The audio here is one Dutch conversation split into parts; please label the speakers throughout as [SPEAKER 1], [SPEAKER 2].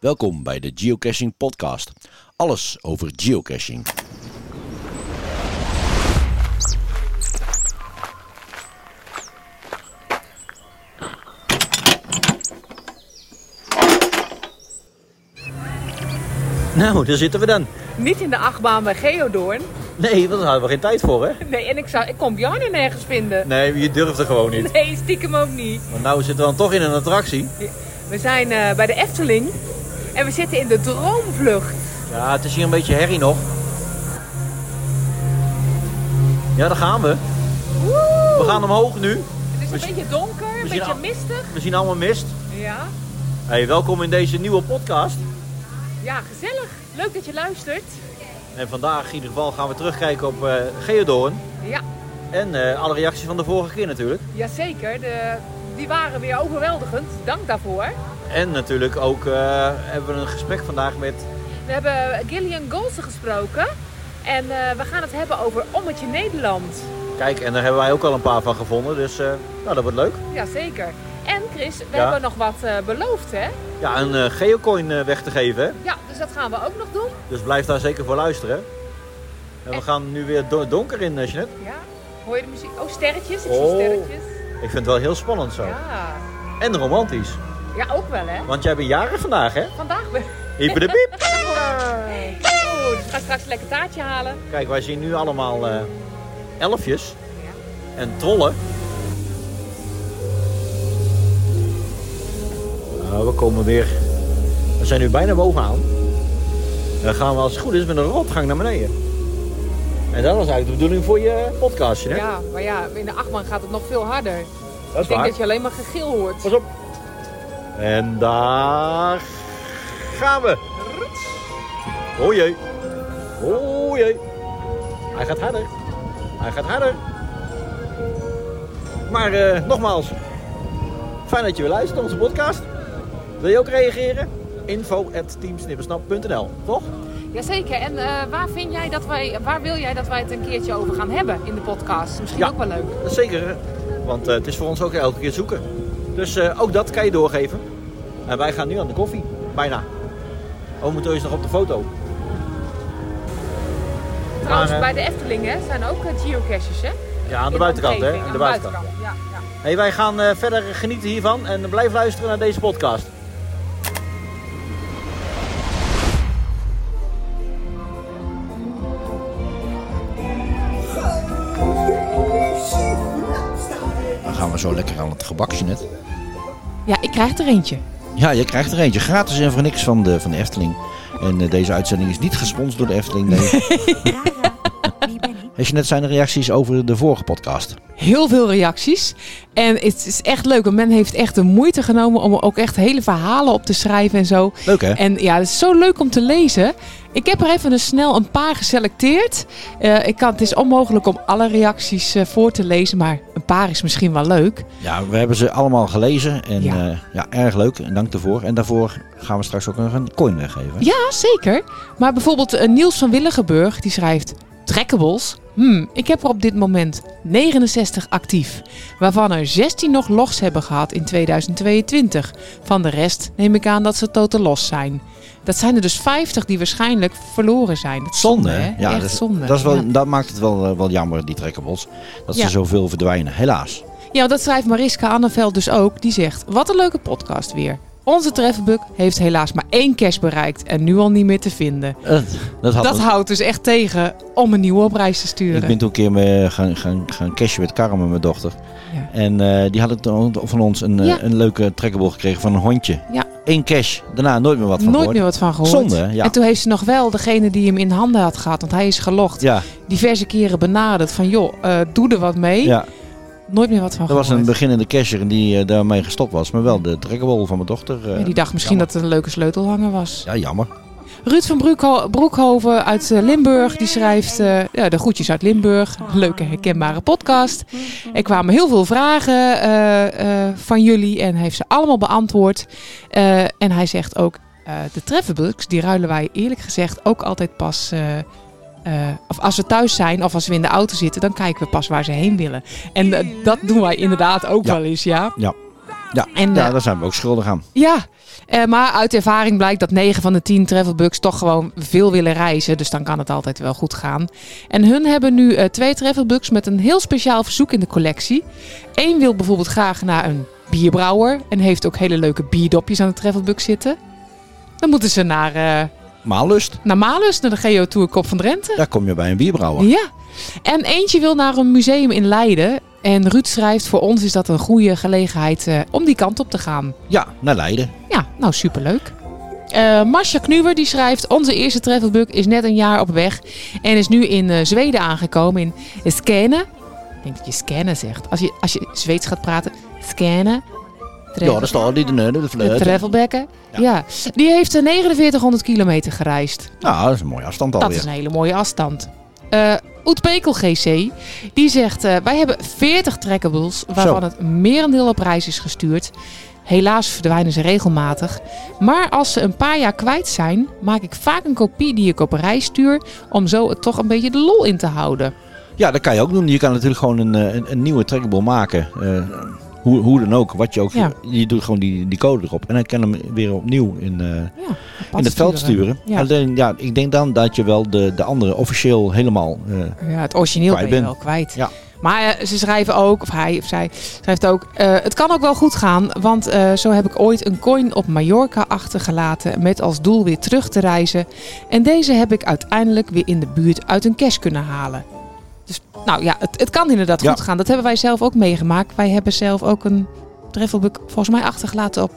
[SPEAKER 1] Welkom bij de Geocaching Podcast. Alles over geocaching.
[SPEAKER 2] Nou, daar zitten we dan.
[SPEAKER 3] Niet in de achtbaan bij Geodoorn.
[SPEAKER 2] Nee, want daar hadden we geen tijd voor, hè?
[SPEAKER 3] Nee, en ik, zou, ik kon Bjarne nergens vinden.
[SPEAKER 2] Nee, je durfde gewoon niet.
[SPEAKER 3] Nee, stiekem ook niet.
[SPEAKER 2] Maar nou zitten we dan toch in een attractie.
[SPEAKER 3] We zijn eh, bij de Efteling en we zitten in de droomvlucht.
[SPEAKER 2] Ja, het is hier een beetje herrie nog. Ja, daar gaan we.
[SPEAKER 3] Woe!
[SPEAKER 2] We gaan omhoog nu.
[SPEAKER 3] Het is een beetje donker, een
[SPEAKER 2] we zien
[SPEAKER 3] beetje
[SPEAKER 2] al-
[SPEAKER 3] mistig.
[SPEAKER 2] We zien allemaal mist.
[SPEAKER 3] Ja.
[SPEAKER 2] Hey, welkom in deze nieuwe podcast.
[SPEAKER 3] ja, gezellig. Leuk dat je luistert.
[SPEAKER 2] En vandaag in ieder geval gaan we terugkijken op eh Geodoorn.
[SPEAKER 3] Ja,
[SPEAKER 2] En eh, alle reacties van de vorige keer natuurlijk.
[SPEAKER 3] jazeker. De, die waren weer overweldigend. Dank daarvoor.
[SPEAKER 2] En natuurlijk ook eh, hebben we een gesprek vandaag met...
[SPEAKER 3] We hebben Gillian Golsen gesproken. En eh, we gaan het hebben over Ommetje Nederland.
[SPEAKER 2] Kijk, en daar hebben wij ook al een paar van gevonden. Dus eh, nou, dat wordt leuk.
[SPEAKER 3] Jazeker. En Chris, we
[SPEAKER 2] Ja.
[SPEAKER 3] hebben nog wat eh, beloofd, hè?
[SPEAKER 2] Ja, een eh, geocoin eh, weg te geven, hè?
[SPEAKER 3] Ja, dus dat gaan we ook nog doen.
[SPEAKER 2] Dus blijf daar zeker voor luisteren. En we gaan nu weer do- donker in, eh, Jeanette.
[SPEAKER 3] Ja, hoor je de muziek? Oh, sterretjes. Ik
[SPEAKER 2] Oh.
[SPEAKER 3] zie sterretjes.
[SPEAKER 2] Ik vind het wel heel spannend zo.
[SPEAKER 3] Ja.
[SPEAKER 2] En romantisch.
[SPEAKER 3] ja, ook wel hè.
[SPEAKER 2] Want jij bent jarig vandaag, hè?
[SPEAKER 3] Vandaag ben
[SPEAKER 2] Hyper de piep.
[SPEAKER 3] Oh, dus we gaan straks een lekker taartje halen.
[SPEAKER 2] Kijk, wij zien nu allemaal eh, elfjes
[SPEAKER 3] Ja.
[SPEAKER 2] en trollen. Nou, we komen weer... We zijn nu bijna bovenaan. En dan gaan we als het goed is met een rotgang naar beneden. En dat was eigenlijk de bedoeling voor je podcast, hè?
[SPEAKER 3] Ja, maar ja, in de achtbaan gaat het nog veel harder.
[SPEAKER 2] dat
[SPEAKER 3] Ik denk dat je alleen maar gegil hoort.
[SPEAKER 2] Pas op. En daar gaan we. O jee. O jee. Hij gaat harder. Hij gaat harder. Maar eh, nogmaals, fijn dat je weer luistert naar onze podcast. Wil je ook reageren? Info at teamsnippersnap.nl, toch?
[SPEAKER 3] Jazeker. En eh, waar, vind jij dat wij, waar wil jij dat wij het een keertje over gaan hebben in de podcast? Misschien
[SPEAKER 2] Ja.
[SPEAKER 3] ook wel leuk.
[SPEAKER 2] Dat is zeker, hè? want eh, het is voor ons ook elke keer zoeken. Dus eh, ook dat kan je doorgeven. En wij gaan nu aan de koffie, bijna. Oh, we moeten eens nog op de foto.
[SPEAKER 3] Trouwens,
[SPEAKER 2] eh,
[SPEAKER 3] bij de Efteling hè, zijn ook eh, geocaches hè?
[SPEAKER 2] Ja, aan de
[SPEAKER 3] In
[SPEAKER 2] buitenkant, hè?
[SPEAKER 3] omgeving,
[SPEAKER 2] Aan de buitenkant.
[SPEAKER 3] Ja, ja.
[SPEAKER 2] Hey, wij gaan eh, verder genieten hiervan en blijf luisteren naar deze podcast.
[SPEAKER 1] Dan gaan we zo lekker aan het gebakje net.
[SPEAKER 3] ja, ik krijg er eentje.
[SPEAKER 1] Ja, je krijgt er eentje gratis en voor niks van de, van de Efteling. En eh, deze uitzending is niet gesponsord door de Efteling. Nee.
[SPEAKER 4] Lara, wie ben ik?
[SPEAKER 1] Als je net zijn er reacties over de vorige podcast.
[SPEAKER 3] heel veel reacties. En het is echt leuk, want men heeft echt de moeite genomen om er ook echt hele verhalen op te schrijven en zo.
[SPEAKER 1] Leuk hè?
[SPEAKER 3] En ja, het is zo leuk om te lezen. Ik heb er even een snel een paar geselecteerd. Eh, ik kan, het is onmogelijk om alle reacties eh, voor te lezen, maar een paar is misschien wel leuk.
[SPEAKER 1] Ja, we hebben ze allemaal gelezen. En ja,
[SPEAKER 3] Ja.
[SPEAKER 1] ja erg leuk. En dank daarvoor. En daarvoor gaan we straks ook nog een coin weggeven.
[SPEAKER 3] Ja, zeker. Maar bijvoorbeeld eh, Niels van Willigenburg, die schrijft... Trekkables? Hmm, ik heb er op dit moment 69 actief. Waarvan er 16 nog logs hebben gehad in 2022. Van de rest neem ik aan dat ze totaal los zijn. Dat zijn er dus 50 die waarschijnlijk verloren zijn. Dat is zonde, hè?
[SPEAKER 1] Ja,
[SPEAKER 3] Echt
[SPEAKER 1] dat, is-
[SPEAKER 3] zonde.
[SPEAKER 1] Dat, is wel,
[SPEAKER 3] Ja.
[SPEAKER 1] dat maakt het wel, eh, wel jammer, die trekkerbots. Dat
[SPEAKER 3] Ja.
[SPEAKER 1] ze zoveel verdwijnen. Helaas.
[SPEAKER 3] Ja, dat schrijft Mariska Anneveld dus ook. Die zegt, wat een leuke podcast weer. Onze treffenbuk heeft helaas maar één cash bereikt en nu al niet meer te vinden.
[SPEAKER 1] Eh, dat had
[SPEAKER 3] Dat houdt dus echt tegen om een nieuwe op reis te sturen.
[SPEAKER 1] Ik ben toen een keer mee eh, gaan, gaan, gaan cashen met Carmen, mijn dochter.
[SPEAKER 3] Ja.
[SPEAKER 1] En eh, die had toen van ons een, eh,
[SPEAKER 3] Ja.
[SPEAKER 1] een leuke trekkerbol gekregen van een hondje.
[SPEAKER 3] Ja.
[SPEAKER 1] Eén cash. Daarna nooit meer wat van
[SPEAKER 3] Nooit
[SPEAKER 1] gehoord.
[SPEAKER 3] meer wat van gehoord.
[SPEAKER 1] Zonde, hè? ja.
[SPEAKER 3] En toen heeft ze nog wel degene die hem in handen had gehad, want hij is gelogd,
[SPEAKER 1] Ja,
[SPEAKER 3] diverse keren benaderd van joh, eh, doe er wat mee.
[SPEAKER 1] ja,
[SPEAKER 3] Nooit meer wat van
[SPEAKER 1] er was een
[SPEAKER 3] gehoord.
[SPEAKER 1] beginnende cashier en die eh, daarmee gestopt was. Maar wel de trekkerbol van mijn dochter. eh,
[SPEAKER 3] Ja, die dacht misschien
[SPEAKER 1] jammer.
[SPEAKER 3] dat het een leuke sleutelhanger was.
[SPEAKER 1] Ja, jammer.
[SPEAKER 3] Ruud van Broekho- Broekhoven uit eh, Limburg, die schrijft eh, ja, de groetjes uit Limburg. Leuke herkenbare podcast. Er kwamen heel veel vragen eh, eh, van jullie en hij heeft ze allemaal beantwoord. Eh, en hij zegt ook, eh, de trefferbooks, die ruilen wij eerlijk gezegd ook altijd pas... eh, eh, of als we thuis zijn of als we in de auto zitten, dan kijken we pas waar ze heen willen. En eh, dat doen wij inderdaad ook
[SPEAKER 1] Ja.
[SPEAKER 3] wel eens, ja.
[SPEAKER 1] Ja,
[SPEAKER 3] En,
[SPEAKER 1] ja
[SPEAKER 3] eh,
[SPEAKER 1] daar zijn we ook schuldig aan.
[SPEAKER 3] Ja, eh, maar uit ervaring blijkt dat 9 van de 10 travelbugs toch gewoon veel willen reizen. Dus dan kan het altijd wel goed gaan. En hun hebben nu eh, twee travelbugs met een heel speciaal verzoek in de collectie. Eén wil bijvoorbeeld graag naar een bierbrouwer en heeft ook hele leuke bierdopjes aan de travelbug zitten. Dan moeten ze naar, eh
[SPEAKER 1] Maar lust,
[SPEAKER 3] naar Malus, naar de Geo Tour Kop van Drenthe.
[SPEAKER 1] daar kom je bij een bierbrouwer.
[SPEAKER 3] Ja. En eentje wil naar een museum in Leiden. En Ruud schrijft, voor ons is dat een goede gelegenheid eh, om die kant op te gaan.
[SPEAKER 1] Ja, naar Leiden.
[SPEAKER 3] Ja, nou superleuk. Eh Marcia Knuwer die schrijft: Onze eerste travelbug is net een jaar op weg en is nu in eh, Zweden aangekomen in Skene. Ik denk dat je Skene zegt. Als je, als je Zweeds gaat praten, Skene.
[SPEAKER 1] Ja, daar staat die de neuden, de
[SPEAKER 3] de
[SPEAKER 1] fluit.
[SPEAKER 3] travelbekken. Ja. die heeft eh, 4900 kilometer gereisd.
[SPEAKER 1] Nou, dat is een mooie afstand
[SPEAKER 3] Dat is
[SPEAKER 1] alweer.
[SPEAKER 3] een hele mooie afstand. Eh Oet Pekel GC, die zegt... eh, wij hebben 40 trackables, waarvan
[SPEAKER 1] Zo.
[SPEAKER 3] het merendeel op reis is gestuurd. Helaas verdwijnen ze regelmatig. Maar als ze een paar jaar kwijt zijn, maak ik vaak een kopie die ik op reis stuur... om zo het toch een beetje de lol in te houden.
[SPEAKER 1] Ja, dat kan je ook doen. Je kan natuurlijk gewoon een, eh, een, een nieuwe trackable maken. Eh, hoe, hoe dan ook, wat je ook.
[SPEAKER 3] Ja.
[SPEAKER 1] Je doet gewoon die, die code erop. En dan kan je hem weer opnieuw in, eh, in
[SPEAKER 3] Apart
[SPEAKER 1] het veld sturen.
[SPEAKER 3] Ja.
[SPEAKER 1] Alleen, ja, ik denk dan dat je wel de, de andere officieel helemaal. eh,
[SPEAKER 3] Ja, het origineel
[SPEAKER 1] Kwijt
[SPEAKER 3] ben je
[SPEAKER 1] ben.
[SPEAKER 3] wel kwijt.
[SPEAKER 1] Ja.
[SPEAKER 3] Maar eh, ze schrijven ook, of hij of zij schrijft ook... eh, het kan ook wel goed gaan, want eh, zo heb ik ooit een coin op Mallorca achtergelaten... met als doel weer terug te reizen. En deze heb ik uiteindelijk weer in de buurt uit een cash kunnen halen. Dus nou ja, het, het kan inderdaad
[SPEAKER 1] Ja.
[SPEAKER 3] goed gaan. Dat hebben wij zelf ook meegemaakt. Wij hebben zelf ook een treffelboek volgens mij achtergelaten op...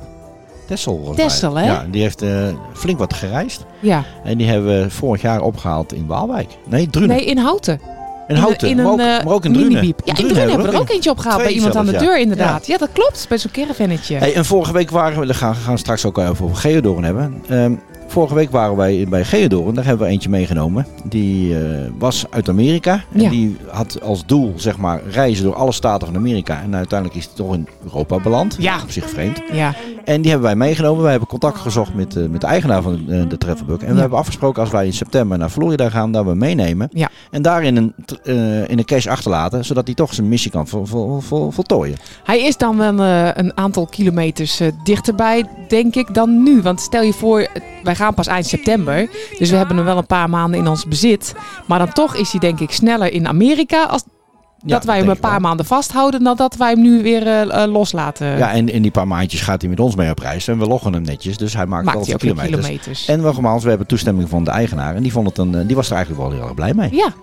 [SPEAKER 1] Tessel. volgens
[SPEAKER 3] Tessel,
[SPEAKER 1] mij.
[SPEAKER 3] hè?
[SPEAKER 1] Ja, die heeft eh, flink wat gereisd.
[SPEAKER 3] Ja,
[SPEAKER 1] En die hebben we vorig jaar opgehaald in Waalwijk. Nee, Drunen.
[SPEAKER 3] nee, in Houten.
[SPEAKER 1] in Houten.
[SPEAKER 3] In een,
[SPEAKER 1] maar, ook,
[SPEAKER 3] eh,
[SPEAKER 1] maar ook in Drunen.
[SPEAKER 3] minibiep. Ja, in Drunen hebben we er ook eentje opgehaald bij
[SPEAKER 1] Twee
[SPEAKER 3] iemand aan de
[SPEAKER 1] zelfs, ja.
[SPEAKER 3] deur inderdaad. Ja, dat klopt. Bij zo'n caravanetje.
[SPEAKER 1] Hey, en vorige week waren we, daar gaan we gaan we straks ook even over Geodoren hebben. Ehm, vorige week waren wij bij Geodoren, daar hebben we eentje meegenomen. Die eh, was uit Amerika. En
[SPEAKER 3] Ja.
[SPEAKER 1] die had als doel, zeg maar, reizen door alle staten van Amerika. En uiteindelijk is het toch in Europa beland.
[SPEAKER 3] Ja.
[SPEAKER 1] Op zich vreemd.
[SPEAKER 3] Ja.
[SPEAKER 1] En die hebben wij meegenomen. Wij hebben contact gezocht met, eh, met de eigenaar van eh, de Travelbug. En
[SPEAKER 3] Ja.
[SPEAKER 1] we hebben afgesproken als wij in september naar Florida gaan, dat we hem meenemen.
[SPEAKER 3] Ja.
[SPEAKER 1] En daarin een, tr- eh, in een cache achterlaten, zodat hij toch zijn missie kan vol- vol- vol- voltooien.
[SPEAKER 3] Hij is dan wel eh, een aantal kilometers eh, dichterbij, denk ik, dan nu. Want stel je voor, eh, wij gaan pas eind september. Dus we hebben hem wel een paar maanden in ons bezit. Maar dan toch is hij, denk ik, sneller in Amerika. Als
[SPEAKER 1] Ja,
[SPEAKER 3] dat wij
[SPEAKER 1] denk
[SPEAKER 3] hem een
[SPEAKER 1] ik wel.
[SPEAKER 3] paar maanden vasthouden. dan dat wij hem nu weer eh, eh, loslaten.
[SPEAKER 1] Ja, en in die paar maandjes gaat hij met ons mee op reis. En we loggen hem netjes, dus hij maakt,
[SPEAKER 3] maakt hij
[SPEAKER 1] altijd
[SPEAKER 3] ook weer
[SPEAKER 1] kilometers.
[SPEAKER 3] kilometers.
[SPEAKER 1] En nogmaals, we hebben toestemming van de eigenaar. En die, vond het een, eh, die was er eigenlijk wel heel erg blij mee.
[SPEAKER 3] Ja.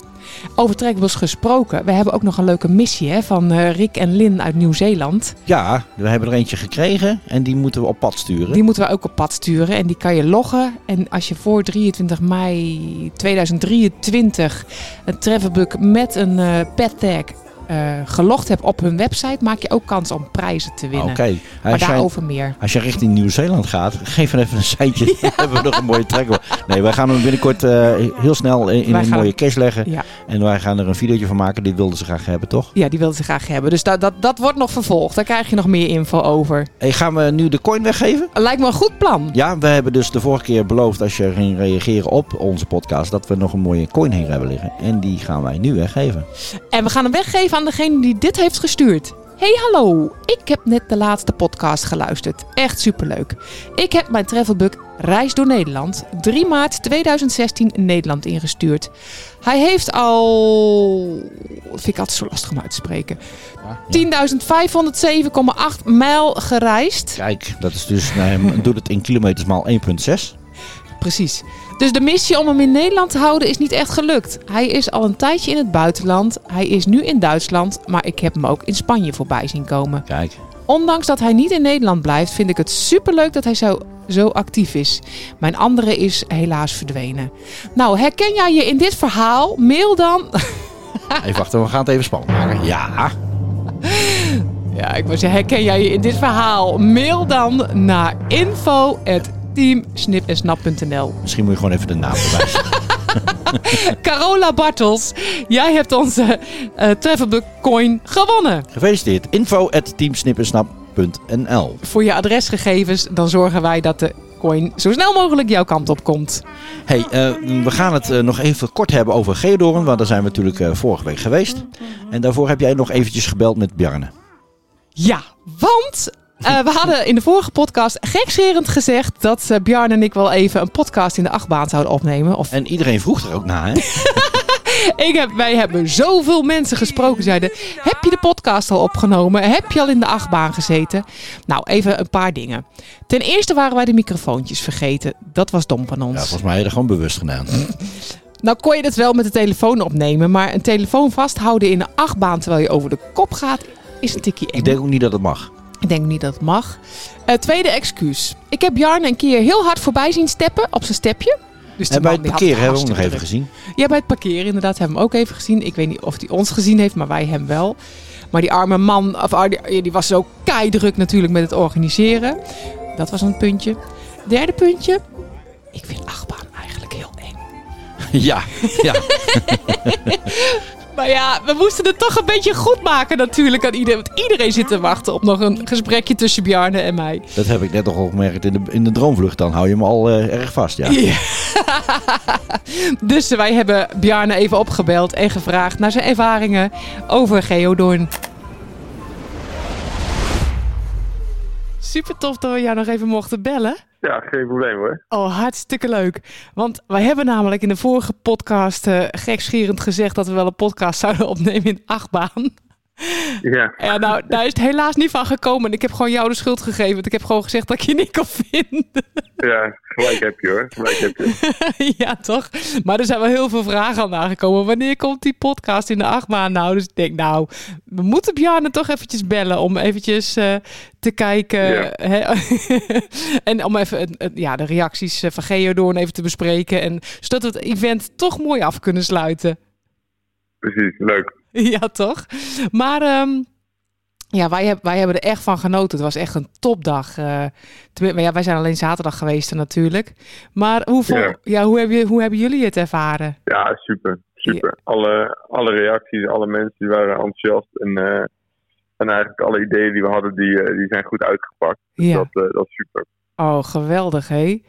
[SPEAKER 3] Over trackables gesproken. We hebben ook nog een leuke missie hè, van eh, Rick en Lin uit Nieuw-Zeeland.
[SPEAKER 1] Ja, we hebben er eentje gekregen en die moeten we op pad sturen.
[SPEAKER 3] Die moeten we ook op pad sturen en die kan je loggen. En als je voor 23 mei 2023 een travelbug met een eh pet tag eh, gelogd hebt op hun website, maak je ook kans om prijzen te
[SPEAKER 1] Ah, Oké,
[SPEAKER 3] winnen. Maar
[SPEAKER 1] als, jij-
[SPEAKER 3] daarover meer.
[SPEAKER 1] als je richting Nieuw-Zeeland gaat, geef hem even een seintje. Dan hebben we nog een mooie trek. Nee, wij gaan hem binnenkort eh, heel snel in, in
[SPEAKER 3] Wij
[SPEAKER 1] een
[SPEAKER 3] gaan-
[SPEAKER 1] mooie cache leggen.
[SPEAKER 3] Ja.
[SPEAKER 1] En wij gaan er een videootje van maken. Dit wilden ze graag hebben, toch?
[SPEAKER 3] Ja, die wilden ze graag hebben. Dus dat, dat, dat wordt nog vervolgd. Daar krijg je nog meer info over.
[SPEAKER 1] Hey, gaan we nu de coin weggeven?
[SPEAKER 3] Lijkt me een goed plan.
[SPEAKER 1] Ja, we hebben dus de vorige keer beloofd als je ging reageren op onze podcast, dat we nog een mooie coin heen hebben liggen. En die gaan wij nu weggeven.
[SPEAKER 3] En we gaan hem weggeven aan degene die dit heeft gestuurd. Hey hallo, ik heb net de laatste podcast geluisterd. Echt superleuk. Ik heb mijn travelbug Reis door Nederland 3 maart 2016 in Nederland ingestuurd. Hij heeft al... vind ik altijd zo lastig om uit te spreken. 10.507,8 mijl gereisd.
[SPEAKER 1] Kijk, dat is dus, nou, doe het in kilometers maal 1,6.
[SPEAKER 3] Precies. Dus de missie om hem in Nederland te houden is niet echt gelukt. Hij is al een tijdje in het buitenland. Hij is nu in Duitsland, maar ik heb hem ook in Spanje voorbij zien komen.
[SPEAKER 1] Kijk,
[SPEAKER 3] Ondanks dat hij niet in Nederland blijft, vind ik het superleuk dat hij zo, zo actief is. Mijn andere is helaas verdwenen. Nou, herken jij je in dit verhaal? Mail dan.
[SPEAKER 1] even wachten, we gaan het even spannend maken. Ja,
[SPEAKER 3] Ja, ik wou zeggen, herken jij je in dit verhaal? Mail dan naar info@teamsnipensnap.nl.
[SPEAKER 1] misschien moet je gewoon even de naam erbij zeggen.
[SPEAKER 3] Carola Bartels, jij hebt onze eh Travelbook Coin gewonnen.
[SPEAKER 1] Gefeliciteerd. Info at teamsnippensnap.nl
[SPEAKER 3] Voor je adresgegevens, dan zorgen wij dat de coin zo snel mogelijk jouw kant op komt.
[SPEAKER 1] Hey, eh, we gaan het eh, nog even kort hebben over Geodoren, want daar zijn we natuurlijk eh, vorige week geweest. En daarvoor heb jij nog eventjes gebeld met Bjarne.
[SPEAKER 3] Ja, want Eh, we hadden in de vorige podcast gekscherend gezegd dat eh, Bjarne en ik wel even een podcast in de achtbaan zouden opnemen. Of
[SPEAKER 1] En iedereen vroeg er ook naar, hè?
[SPEAKER 3] Ik heb, wij hebben zoveel mensen gesproken. die Zeiden: Heb je de podcast al opgenomen? Heb je al in de achtbaan gezeten? Nou, even een paar dingen. Ten eerste waren wij de microfoontjes vergeten. Dat was dom van
[SPEAKER 1] Ja,
[SPEAKER 3] ons.
[SPEAKER 1] volgens mij hadden gewoon bewust gedaan.
[SPEAKER 3] Nou kon je dat wel met de telefoon opnemen. Maar een telefoon vasthouden in de achtbaan terwijl je over de kop gaat, is een tikkie eng.
[SPEAKER 1] Ik denk ook niet dat het mag.
[SPEAKER 3] Ik denk niet dat het mag. Eh, tweede excuus. Ik heb Jarn een keer heel hard voorbij zien steppen op zijn stepje. Dus die
[SPEAKER 1] En bij
[SPEAKER 3] man
[SPEAKER 1] het
[SPEAKER 3] die had
[SPEAKER 1] parkeren hebben we ook
[SPEAKER 3] hartstikke
[SPEAKER 1] nog even
[SPEAKER 3] druk.
[SPEAKER 1] gezien.
[SPEAKER 3] Ja, bij het parkeren inderdaad hebben we hem ook even gezien. Ik weet niet of hij ons gezien heeft, maar wij hem wel. Maar die arme man, of, ah, die, die was zo keidruk natuurlijk met het organiseren. Dat was een puntje. Derde puntje. Ik vind achtbaan eigenlijk heel eng.
[SPEAKER 1] Ja, ja.
[SPEAKER 3] Maar ja, we moesten het toch een beetje goed maken natuurlijk aan iedereen. Want iedereen zit te wachten op nog een gesprekje tussen Bjarne en mij.
[SPEAKER 1] dat heb ik net nog al gemerkt in de, in de droomvlucht. Dan hou je me al eh, erg vast, ja.
[SPEAKER 3] Ja. dus wij hebben Bjarne even opgebeld en gevraagd naar zijn ervaringen over Geodorn. Super tof dat we jou nog even mochten bellen.
[SPEAKER 5] Ja, geen probleem hoor.
[SPEAKER 3] Oh, hartstikke leuk. Want wij hebben namelijk in de vorige podcast eh gekscherend gezegd dat we wel een podcast zouden opnemen in de achtbaan.
[SPEAKER 5] Ja,
[SPEAKER 3] Ja, nou, daar is het helaas niet van gekomen. En ik heb gewoon jou de schuld gegeven. Want ik heb gewoon gezegd dat ik je niet kon vinden.
[SPEAKER 5] ja, gelijk heb je hoor. Gelijk heb je.
[SPEAKER 3] ja, toch? Maar er zijn wel heel veel vragen aan aangekomen. Wanneer komt die podcast in de achtbaan nou? Dus ik denk, nou, we moeten Bjarne toch eventjes bellen om eventjes eh, te kijken.
[SPEAKER 5] Ja.
[SPEAKER 3] hè? en om even het- het- ja, de reacties eh, van Geodoorn even te bespreken. En, zodat we het event toch mooi af kunnen sluiten.
[SPEAKER 5] Precies, leuk.
[SPEAKER 3] ja, toch? Maar... ehm, ja, wij, heb- wij hebben er echt van genoten. Het was echt een topdag. eh. Tenmin- maar ja, wij zijn alleen zaterdag geweest natuurlijk. Maar hoe, vo-
[SPEAKER 5] Ja.
[SPEAKER 3] ja, hoe, heb je, hoe hebben jullie het ervaren?
[SPEAKER 5] Ja, super. Super. Alle, alle reacties, alle mensen die waren enthousiast. En, eh, en eigenlijk alle ideeën die we hadden, die, eh, die zijn goed uitgepakt. Dus
[SPEAKER 3] Ja.
[SPEAKER 5] dat, eh, dat is super.
[SPEAKER 3] Oh, geweldig, hé.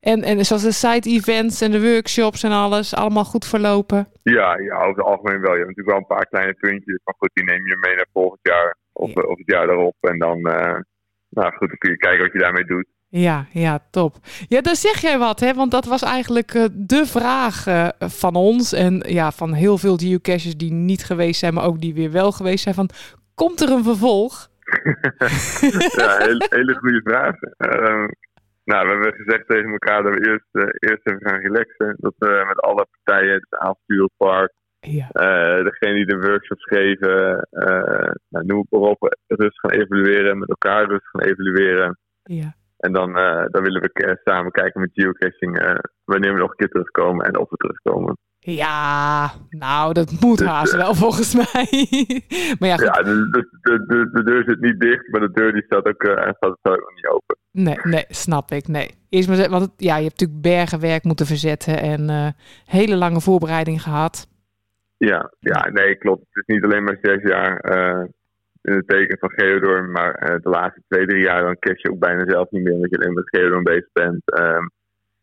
[SPEAKER 3] En, en zoals de side-events en de workshops en alles, allemaal goed verlopen.
[SPEAKER 5] Ja, ja, over het algemeen wel. Je hebt natuurlijk wel een paar kleine puntjes. Maar goed, die neem je mee naar volgend jaar. Of,
[SPEAKER 3] Ja.
[SPEAKER 5] eh, of het jaar daarop. En dan, eh, nou goed, dan kun je kijken wat je daarmee doet.
[SPEAKER 3] Ja, ja, top. Ja, daar zeg jij wat, hè? Want dat was eigenlijk eh, de vraag eh, van ons en ja, van heel veel geocaches die niet geweest zijn, maar ook die weer wel geweest zijn. Van, komt er een vervolg?
[SPEAKER 5] Ja, hele, hele goede vraag. Ehm, nou, we hebben gezegd tegen elkaar dat we eerst, eh, eerst even gaan relaxen. Dat we met alle partijen, het avonturenpark,
[SPEAKER 3] Ja,
[SPEAKER 5] eh degene die de workshops geven, eh nou, noem het maar op, rust gaan evalueren, met elkaar rust gaan evalueren.
[SPEAKER 3] ja.
[SPEAKER 5] En dan, eh, dan willen we ke- samen kijken met geocaching eh, wanneer we nog een keer terugkomen en of we terugkomen.
[SPEAKER 3] Ja, nou, dat moet
[SPEAKER 5] Dus,
[SPEAKER 3] haast
[SPEAKER 5] eh,
[SPEAKER 3] wel volgens mij. maar ja, goed,
[SPEAKER 5] Ja, de, de, de, de, de deur zit niet dicht, maar de deur die staat ook, eh, staat, staat ook nog niet open.
[SPEAKER 3] Nee, nee, snap ik. Nee. Eerst maar, zeggen, want het- ja, je hebt natuurlijk bergen werk moeten verzetten en eh, hele lange voorbereiding gehad.
[SPEAKER 5] Ja, ja, nee, klopt. Het is niet alleen maar zes jaar eh, in het teken van Geodorm, maar eh, de laatste twee, drie jaar dan cash je ook bijna zelf niet meer, omdat je alleen met Geodorm bezig bent. Ehm,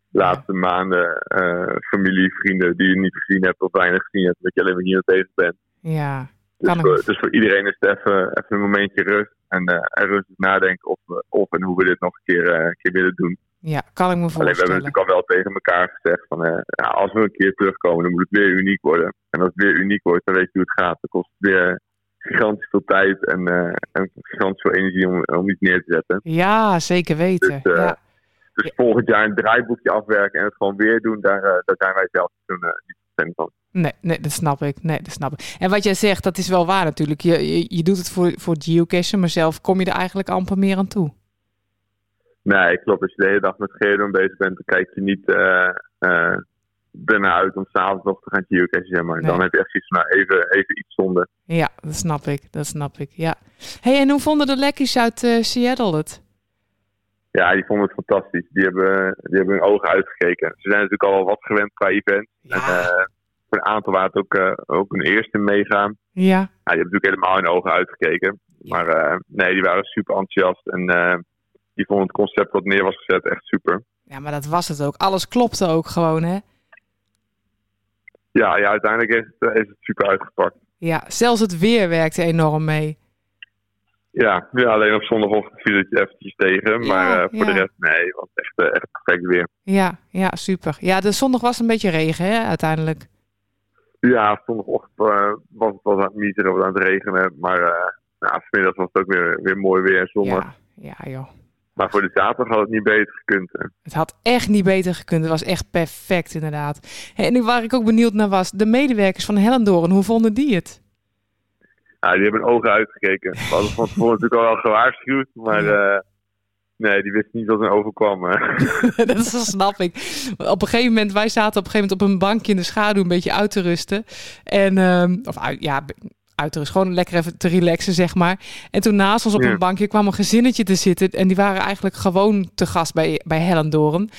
[SPEAKER 5] de laatste maanden eh, familie, vrienden die je niet gezien hebt of weinig gezien hebt, omdat je alleen maar hier mee bezig bent.
[SPEAKER 3] Ja,
[SPEAKER 5] Dus
[SPEAKER 3] Kan ik.
[SPEAKER 5] voor, dus voor iedereen is het even, even een momentje rust en, eh, en rustig nadenken of, we- of en hoe we dit nog een keer, eh, een keer willen doen.
[SPEAKER 3] ja, kan ik me
[SPEAKER 5] Alleen we hebben
[SPEAKER 3] voorstellen.
[SPEAKER 5] natuurlijk al wel tegen elkaar gezegd van eh, ja, als we een keer terugkomen, dan moet het weer uniek worden. En als het weer uniek wordt, dan weet je hoe het gaat. Dan kost het weer gigantisch veel tijd en, eh, en gigantisch veel energie om, om iets neer te zetten.
[SPEAKER 3] Ja, zeker weten.
[SPEAKER 5] Dus, eh,
[SPEAKER 3] ja.
[SPEAKER 5] Dus volgend jaar een draaiboekje afwerken en het gewoon weer doen, daar, eh, daar zijn wij zelf toen, eh, niet fan van.
[SPEAKER 3] Nee, nee, dat snap ik. Nee, dat snap ik. En wat jij zegt, dat is wel waar natuurlijk. Je, je, je doet het voor, voor geocachen, maar zelf kom je er eigenlijk amper meer aan toe.
[SPEAKER 5] Nee, klopt. Als je de hele dag met Geodon bezig bent, dan kijk je niet eh eh, ernaar uit om s'avonds nog te gaan geocachen, zeg maar.
[SPEAKER 3] Nee.
[SPEAKER 5] Dan heb je echt iets nou even, even iets zonder.
[SPEAKER 3] Ja, dat snap ik. Dat snap ik, ja. hey, en hoe vonden de lekkies uit eh, Seattle het?
[SPEAKER 5] Ja, die vonden het fantastisch. Die hebben, die hebben hun ogen uitgekeken. Ze zijn natuurlijk al wel wat gewend qua event. En,
[SPEAKER 3] Ja,
[SPEAKER 5] eh, voor een aantal waren het ook, eh, ook een eerste meegaan.
[SPEAKER 3] ja,
[SPEAKER 5] Ja, die hebben natuurlijk helemaal hun ogen uitgekeken. Maar eh, nee, die waren super enthousiast. En eh, die vonden het concept wat neer was gezet echt super.
[SPEAKER 3] ja, maar dat was het ook. Alles klopte ook gewoon, hè?
[SPEAKER 5] Ja, ja uiteindelijk is het, eh, is het super uitgepakt.
[SPEAKER 3] Ja, zelfs het weer werkte enorm mee.
[SPEAKER 5] Ja, ja, alleen op zondagochtend viel het je eventjes tegen.
[SPEAKER 3] Ja,
[SPEAKER 5] maar eh, voor
[SPEAKER 3] ja.
[SPEAKER 5] de rest, nee, het was echt, eh, echt perfect weer.
[SPEAKER 3] Ja, ja, super. Ja, de zondag was een beetje regen, hè, uiteindelijk.
[SPEAKER 5] Ja, zondagochtend eh, was het was aan het mieteren, was aan het regenen. Maar eh nou, vanmiddag was het ook weer, weer mooi weer, zonnig.
[SPEAKER 3] Ja, ja, joh.
[SPEAKER 5] Maar voor de zaterdag had het niet beter gekund. Eh, hè.
[SPEAKER 3] Het had echt niet beter gekund. Het was echt perfect, inderdaad. Hé, En waar ik ook benieuwd naar was, de medewerkers van Hellendoorn, hoe vonden die het?
[SPEAKER 5] Ja, die hebben hun ogen uitgekeken. We hadden van tevoren natuurlijk al wel gewaarschuwd, maar eh, nee, die wisten niet wat er overkwam. hè.
[SPEAKER 3] dat is- dat snap ik. Op een gegeven moment, wij zaten op een gegeven moment op een bankje in de schaduw een beetje uit te rusten. En, ehm, of uit, ja, uit te rusten, gewoon lekker even te relaxen, zeg maar. En toen naast ons op
[SPEAKER 5] Ja.
[SPEAKER 3] een bankje kwam een gezinnetje te zitten. En die waren eigenlijk gewoon te gast bij, bij Hellendoorn.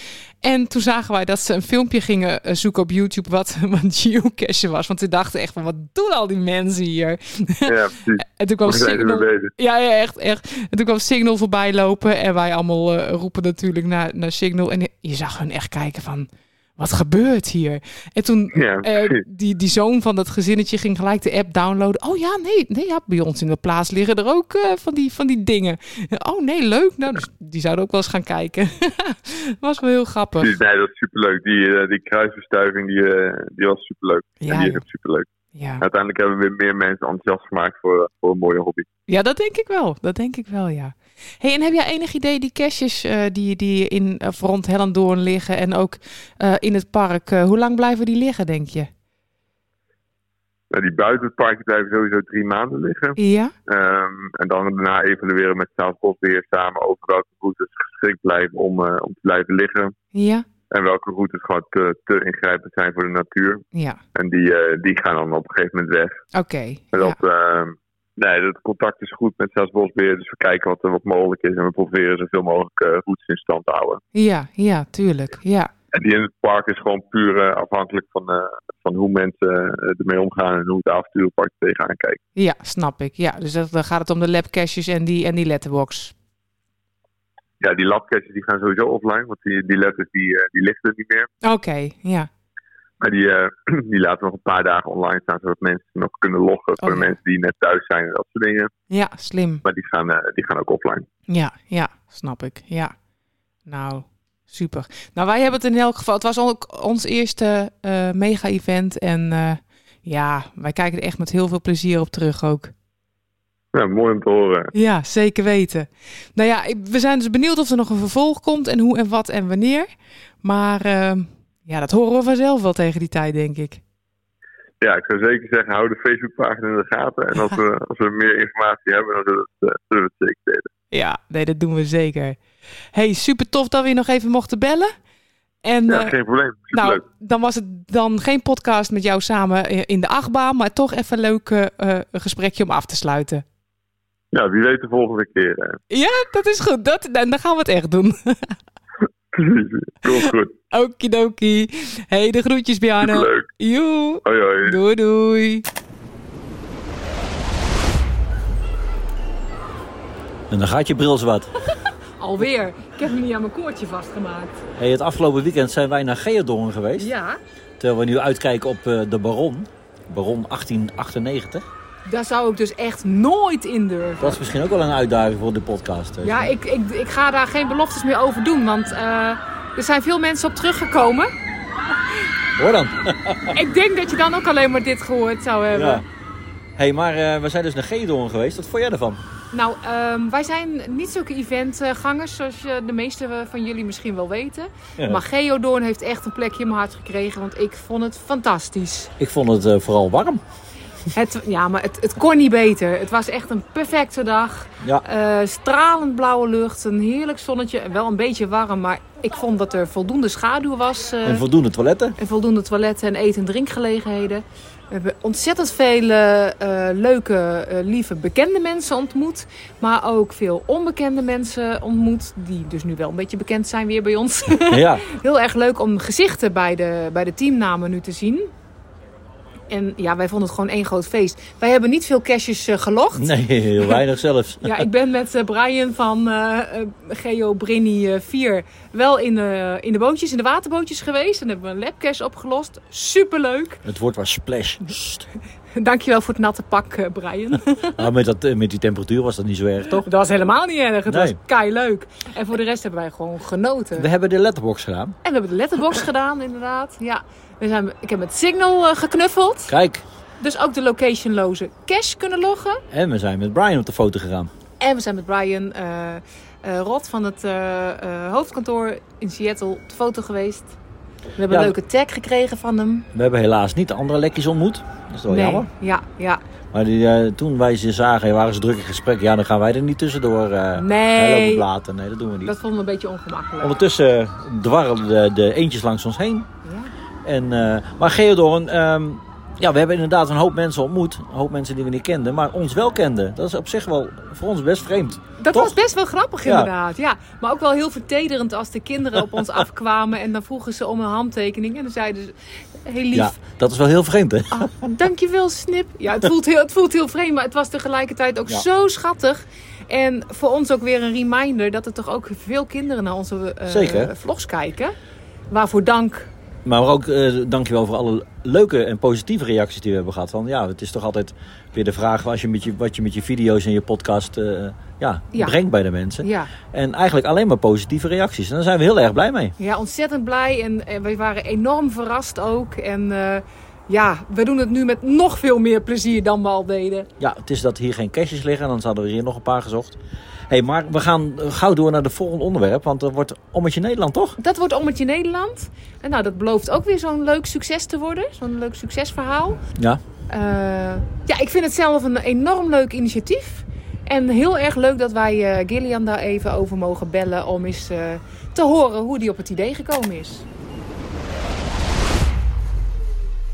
[SPEAKER 3] En toen zagen wij dat ze een filmpje gingen eh, zoeken op YouTube wat, wat geocache was. Want ze dachten echt van, wat doen al die mensen hier?
[SPEAKER 5] ja, precies.
[SPEAKER 3] En toen kwam
[SPEAKER 5] Waar zijn ze mee
[SPEAKER 3] Signal...
[SPEAKER 5] bezig?
[SPEAKER 3] Ja, ja, echt, echt. En toen kwam Signal voorbij lopen en wij allemaal eh, roepen natuurlijk naar, naar Signal. En je zag hun echt kijken van, wat gebeurt hier? En toen,
[SPEAKER 5] Ja,
[SPEAKER 3] eh,
[SPEAKER 5] precies.
[SPEAKER 3] die, die zoon van dat gezinnetje ging gelijk de app downloaden. Oh ja, nee, nee ja, bij ons in de plaats liggen er ook eh, van, die, van die dingen. Oh nee, leuk. Nou, dus die zouden ook wel eens gaan kijken. Was wel heel grappig.
[SPEAKER 5] Precies, nee, dat is superleuk. Die, eh, die kruisbestuiving die, eh, die was superleuk. en
[SPEAKER 3] Ja,
[SPEAKER 5] die is
[SPEAKER 3] joh.
[SPEAKER 5] ook superleuk.
[SPEAKER 3] ja.
[SPEAKER 5] Uiteindelijk hebben we weer meer mensen enthousiast gemaakt voor, eh, voor een mooie hobby.
[SPEAKER 3] Ja, dat denk ik wel. Dat denk ik wel, ja. Hey, en heb jij enig idee die caches eh, die, die in of rond Hellendoorn liggen en ook eh, in het park, eh, hoe lang blijven die liggen, denk je?
[SPEAKER 5] Nou, die buiten het park blijven sowieso drie maanden liggen.
[SPEAKER 3] Ja?
[SPEAKER 5] Ehm, en dan daarna evalueren met Staatsbos weer samen over welke routes geschikt blijven om, eh, om te blijven liggen.
[SPEAKER 3] Ja?
[SPEAKER 5] En welke routes gewoon te, te ingrijpend zijn voor de natuur.
[SPEAKER 3] Ja.
[SPEAKER 5] En die, eh, die gaan dan op een gegeven moment weg.
[SPEAKER 3] Oké. Ja.
[SPEAKER 5] En dat, ehm, nee, dat contact is goed met Staatsbosbeheer. Dus we kijken wat er wat mogelijk is. En we proberen zoveel mogelijk eh, routes in stand te houden.
[SPEAKER 3] ja, ja, tuurlijk. Ja.
[SPEAKER 5] En die in het park is gewoon puur eh, afhankelijk van, eh, van hoe mensen eh, ermee omgaan en hoe het avonturenpark er tegenaan kijkt.
[SPEAKER 3] Ja, snap ik. Ja, dus dat, dan gaat het om de lab caches en die, en die letterbox.
[SPEAKER 5] Ja, die labcaches die gaan sowieso offline, want die, die letters die, eh, die liggen er niet meer.
[SPEAKER 3] Oké, ja.
[SPEAKER 5] Maar die, eh, die laten we nog een paar dagen online staan, zodat mensen nog kunnen loggen voor
[SPEAKER 3] Oh,
[SPEAKER 5] de
[SPEAKER 3] ja.
[SPEAKER 5] mensen die net thuis zijn en dat soort dingen.
[SPEAKER 3] Ja, slim.
[SPEAKER 5] Maar die gaan, eh, die gaan ook offline.
[SPEAKER 3] Ja, ja, snap ik. Ja. Nou, super. Nou, wij hebben het in elk geval. Het was ook ons eerste eh, mega-event. En eh, ja, wij kijken er echt met heel veel plezier op terug ook.
[SPEAKER 5] Ja, mooi om te horen.
[SPEAKER 3] Ja, zeker weten. Nou ja, ik- we zijn dus benieuwd of er nog een vervolg komt. En hoe en wat en wanneer. Maar eh, ja, dat horen we vanzelf wel tegen die tijd, denk ik.
[SPEAKER 5] Ja, ik zou zeker zeggen, hou de Facebookpagina in de gaten. En als we, als we meer informatie hebben, dan zullen we het, eh, zullen we het zeker delen.
[SPEAKER 3] Ja, nee, dat doen we zeker. Hey, super tof dat we je nog even mochten bellen. En
[SPEAKER 5] Ja,
[SPEAKER 3] eh,
[SPEAKER 5] geen probleem.
[SPEAKER 3] Nou,
[SPEAKER 5] Superleuk.
[SPEAKER 3] dan was het dan geen podcast met jou samen eh, in de achtbaan, maar toch even een leuk eh, eh, gesprekje om af te sluiten.
[SPEAKER 5] Ja, wie weet de volgende keer. eh.
[SPEAKER 3] Ja, dat is goed. Dat, dan dan gaan we het echt doen.
[SPEAKER 5] Precies. Komt goed.
[SPEAKER 3] Okidoki. Hey, de groetjes, Bjarne.
[SPEAKER 5] Superleuk.
[SPEAKER 3] Joe.
[SPEAKER 5] Hoi hoi.
[SPEAKER 3] Doei, doei.
[SPEAKER 2] En dan gaat je bril zwart.
[SPEAKER 6] Alweer. Ik heb hem niet aan mijn koordje vastgemaakt.
[SPEAKER 2] Hey, het afgelopen weekend zijn wij naar Geodorn geweest.
[SPEAKER 6] Ja,
[SPEAKER 2] Terwijl we nu uitkijken op eh, de Baron. Baron 1898.
[SPEAKER 6] daar zou ik dus echt nooit in durven.
[SPEAKER 2] Dat is misschien ook wel een uitdaging voor de podcast. eh.
[SPEAKER 6] Ja, ik, ik, ik ga daar geen beloftes meer over doen, want eh, er zijn veel mensen op teruggekomen.
[SPEAKER 2] Hoor dan.
[SPEAKER 6] Ik denk dat je dan ook alleen maar dit gehoord zou hebben.
[SPEAKER 2] Ja. Hey, maar eh, we zijn dus naar Geodorn geweest. Wat vond jij ervan?
[SPEAKER 6] Nou, ehm, wij zijn niet zulke eventgangers zoals eh, de meeste van jullie misschien wel weten.
[SPEAKER 2] Ja.
[SPEAKER 6] Maar Geodoorn heeft echt een plekje in mijn hart gekregen, want ik vond het fantastisch.
[SPEAKER 2] Ik vond het eh, vooral warm.
[SPEAKER 6] Het, ja, maar het, het kon niet beter. Het was echt een perfecte dag.
[SPEAKER 2] Ja.
[SPEAKER 6] Eh, stralend blauwe lucht, een heerlijk zonnetje. Wel een beetje warm, maar ik vond dat er voldoende schaduw was. eh,
[SPEAKER 2] En voldoende toiletten.
[SPEAKER 6] en voldoende toiletten en eten- en drinkgelegenheden. We hebben ontzettend veel eh, eh, leuke, eh, lieve, bekende mensen ontmoet. Maar ook veel onbekende mensen ontmoet. Die dus nu wel een beetje bekend zijn weer bij ons.
[SPEAKER 2] ja.
[SPEAKER 6] Heel erg leuk om gezichten bij de, bij de teamnamen nu te zien. En ja, wij vonden het gewoon één groot feest. Wij hebben niet veel cashjes eh, gelogd.
[SPEAKER 2] Nee, heel weinig zelfs.
[SPEAKER 6] Ja, ik ben met eh, Brian van eh eh, Geo Brini eh, 4 wel in, eh, in de bootjes, in de waterbootjes geweest. En hebben we een labcash opgelost. Superleuk.
[SPEAKER 2] Het woord was splash. Sst.
[SPEAKER 3] Dankjewel voor het natte pak, eh, Brian.
[SPEAKER 2] Maar met, dat, eh, met die temperatuur was dat niet zo erg, toch?
[SPEAKER 3] Dat was helemaal niet erg. Het was
[SPEAKER 2] Nee.
[SPEAKER 3] kei leuk. En voor de rest hebben wij gewoon genoten.
[SPEAKER 2] We hebben de letterbox gedaan.
[SPEAKER 3] En we hebben de letterbox gedaan, inderdaad. Ja. We zijn, ik heb met Signal eh, geknuffeld.
[SPEAKER 2] Kijk,
[SPEAKER 3] Dus ook de locationloze cash kunnen loggen.
[SPEAKER 2] en we zijn met Brian op de foto gegaan.
[SPEAKER 3] En we zijn met Brian eh, eh, Rot van het eh, eh, hoofdkantoor in Seattle op de foto geweest. We hebben
[SPEAKER 2] Ja,
[SPEAKER 3] een leuke tag gekregen van hem.
[SPEAKER 2] We hebben helaas niet de andere lekkies ontmoet. Dat is wel jammer.
[SPEAKER 3] Ja, ja.
[SPEAKER 2] Maar die, eh, toen wij ze zagen, waren ze druk in gesprek. Ja, dan gaan wij er niet tussendoor. eh wij lopen
[SPEAKER 3] Nee,
[SPEAKER 2] praten. Nee, dat doen we niet.
[SPEAKER 3] dat vond me een beetje ongemakkelijk.
[SPEAKER 2] Ondertussen eh, dwarrelden de, de eentjes langs ons heen.
[SPEAKER 3] Ja.
[SPEAKER 2] En, eh, maar Geodorn, ehm, ja, we hebben inderdaad een hoop mensen ontmoet. Een hoop mensen die we niet kenden, maar ons wel kenden. Dat is op zich wel voor ons best vreemd.
[SPEAKER 3] Dat
[SPEAKER 2] Toch?
[SPEAKER 3] was best wel grappig
[SPEAKER 2] Ja.
[SPEAKER 3] inderdaad, ja. Maar ook wel heel vertederend als de kinderen op ons afkwamen en dan vroegen ze om een handtekening. En dan zeiden ze, heel lief,
[SPEAKER 2] Ja, dat is wel heel vreemd, hè?
[SPEAKER 3] Ah, dankjewel, Snip. Ja, het voelt, heel, het voelt heel vreemd, maar het was tegelijkertijd ook
[SPEAKER 2] Ja.
[SPEAKER 3] zo schattig. En voor ons ook weer een reminder dat er toch ook veel kinderen naar onze eh,
[SPEAKER 2] Zeker.
[SPEAKER 3] vlogs kijken. Waarvoor dank.
[SPEAKER 2] Maar ook eh dankjewel voor alle leuke en positieve reacties die we hebben gehad. Van, ja, het is toch altijd weer de vraag als je met je, wat je met je video's en je podcast eh, ja,
[SPEAKER 3] Ja.
[SPEAKER 2] brengt bij de mensen.
[SPEAKER 3] Ja,
[SPEAKER 2] En eigenlijk alleen maar positieve reacties. En daar zijn we heel erg blij mee.
[SPEAKER 3] ja ontzettend blij en, en we waren enorm verrast ook. En eh, ja, we doen het nu met nog veel meer plezier dan we al deden.
[SPEAKER 2] Ja, het is dat hier geen cashjes liggen, anders hadden we hier nog een paar gezocht. hey, maar we gaan eh, gauw door naar het volgende onderwerp, want er wordt Ommetje Nederland, toch?
[SPEAKER 3] Dat wordt Ommetje Nederland. En nou, dat belooft ook weer zo'n leuk succes te worden. Zo'n leuk succesverhaal.
[SPEAKER 2] Ja.
[SPEAKER 3] Eh, ja, ik vind het zelf een enorm leuk initiatief. En heel erg leuk dat wij eh, Gillian daar even over mogen bellen om eens eh, te horen hoe die op het idee gekomen is.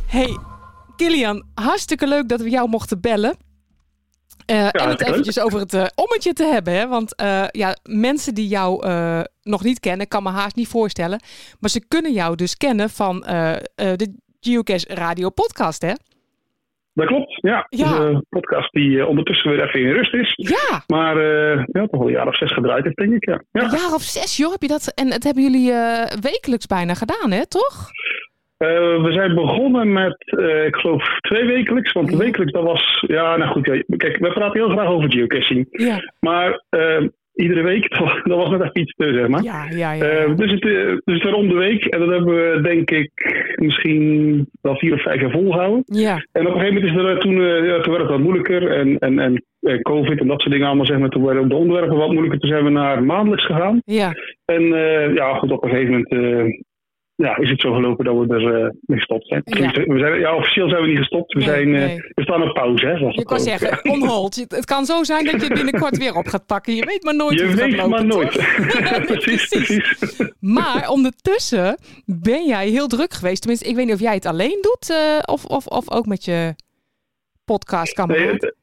[SPEAKER 3] Hey, Gillian, hartstikke leuk dat we jou mochten bellen. Eh, en het
[SPEAKER 5] hartstikke
[SPEAKER 3] eventjes over het eh, ommetje te hebben. Hè? Want eh, ja, mensen die jou eh, nog niet kennen, ik kan me haast niet voorstellen. Maar ze kunnen jou dus kennen van eh, eh, de Geocache Radio Podcast, hè?
[SPEAKER 7] Dat klopt, ja. Dus,
[SPEAKER 3] Ja.
[SPEAKER 7] Het is een podcast die eh, ondertussen weer even in rust is.
[SPEAKER 3] Ja,
[SPEAKER 7] Maar eh, ja, toch al een jaar of zes gedraaid heeft, denk ik. Ja. Ja.
[SPEAKER 3] een jaar of zes, joh, heb je dat. En dat hebben jullie eh, wekelijks bijna gedaan, hè, toch?
[SPEAKER 7] Eh, we zijn begonnen met, eh, ik geloof, twee wekelijks. Want wekelijks, dat was... Ja, nou goed, ja, kijk, we praten heel graag over geocaching.
[SPEAKER 3] Ja,
[SPEAKER 7] Maar eh, iedere week, dat, dat was net even iets te, zeg maar.
[SPEAKER 3] ja, ja. ja.
[SPEAKER 7] Eh, dus, het, eh, dus het om de week. En dat hebben we, denk ik, misschien wel vier of vijf jaar volgehouden.
[SPEAKER 3] ja.
[SPEAKER 7] En op een gegeven moment is er eh, toen, eh, ja, toen werd het wat moeilijker. En, en, en eh, COVID en dat soort dingen allemaal, zeg maar. Toen werden ook de onderwerpen wat moeilijker. Toen zijn we naar maandelijks gegaan.
[SPEAKER 3] ja.
[SPEAKER 7] En eh, ja, goed, op een gegeven moment eh, ja, is het zo gelopen dat we er eh, mee gestopt zijn.
[SPEAKER 3] Ja.
[SPEAKER 7] Tenminste, We zijn. Ja, officieel zijn we niet gestopt. We,
[SPEAKER 3] Nee,
[SPEAKER 7] zijn, eh,
[SPEAKER 3] nee.
[SPEAKER 7] we staan op pauze, hè. zoals
[SPEAKER 3] Je
[SPEAKER 7] dat
[SPEAKER 3] kan
[SPEAKER 7] ook. eh.
[SPEAKER 3] zeggen, on hold. Je- Het kan zo zijn dat je het binnenkort weer op gaat pakken. Je weet maar nooit hoe
[SPEAKER 7] Je
[SPEAKER 3] het gaat
[SPEAKER 7] weet
[SPEAKER 3] lopen,
[SPEAKER 7] maar nooit.
[SPEAKER 3] toch?
[SPEAKER 7] precies, precies.
[SPEAKER 3] Maar ondertussen ben jij heel druk geweest. Tenminste, ik weet niet of jij het alleen doet eh, of, of, of ook met je podcastkameraad.
[SPEAKER 7] Nee, het-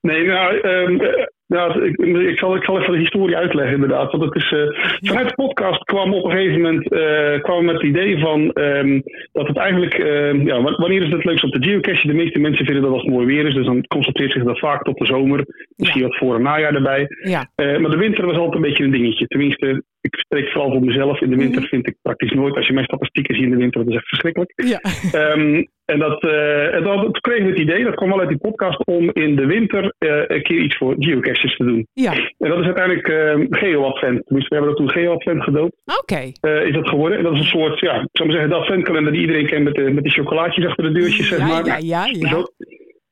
[SPEAKER 7] nee nou, ehm, eh, nou, ik, ik, zal, ik zal even de historie uitleggen inderdaad. Want het is, eh, vanuit de podcast kwam op een gegeven moment eh, kwam met het idee van ehm, dat het eigenlijk, ehm, ja, wa- wanneer is het leukst op de geocache? De meeste mensen vinden dat als het mooi weer is, dus dan concentreert zich dat vaak tot de zomer. Misschien wat voor- en najaar erbij.
[SPEAKER 3] Ja.
[SPEAKER 7] Eh, maar de winter was altijd een beetje een dingetje. Tenminste, ik spreek vooral voor mezelf. In de winter vind ik praktisch nooit. Als je mijn statistieken ziet in de winter, dat is echt verschrikkelijk.
[SPEAKER 3] Ja.
[SPEAKER 7] Ehm, en dat, eh, en dat, toen kregen we het idee, dat kwam wel uit die podcast, om in de winter eh, een keer iets voor geocaches te doen.
[SPEAKER 3] Ja,
[SPEAKER 7] En dat is uiteindelijk ehm GeoAdvent. Dus we hebben dat toen GeoAdvent gedoopt,
[SPEAKER 3] oké.
[SPEAKER 7] eh, is dat geworden. En dat is een soort, ja, ik zou maar zeggen, de adventkalender die iedereen kent met de, met de chocolaatjes achter de deurtjes, zeg
[SPEAKER 3] Ja,
[SPEAKER 7] maar.
[SPEAKER 3] ja, ja, ja.
[SPEAKER 7] Zo,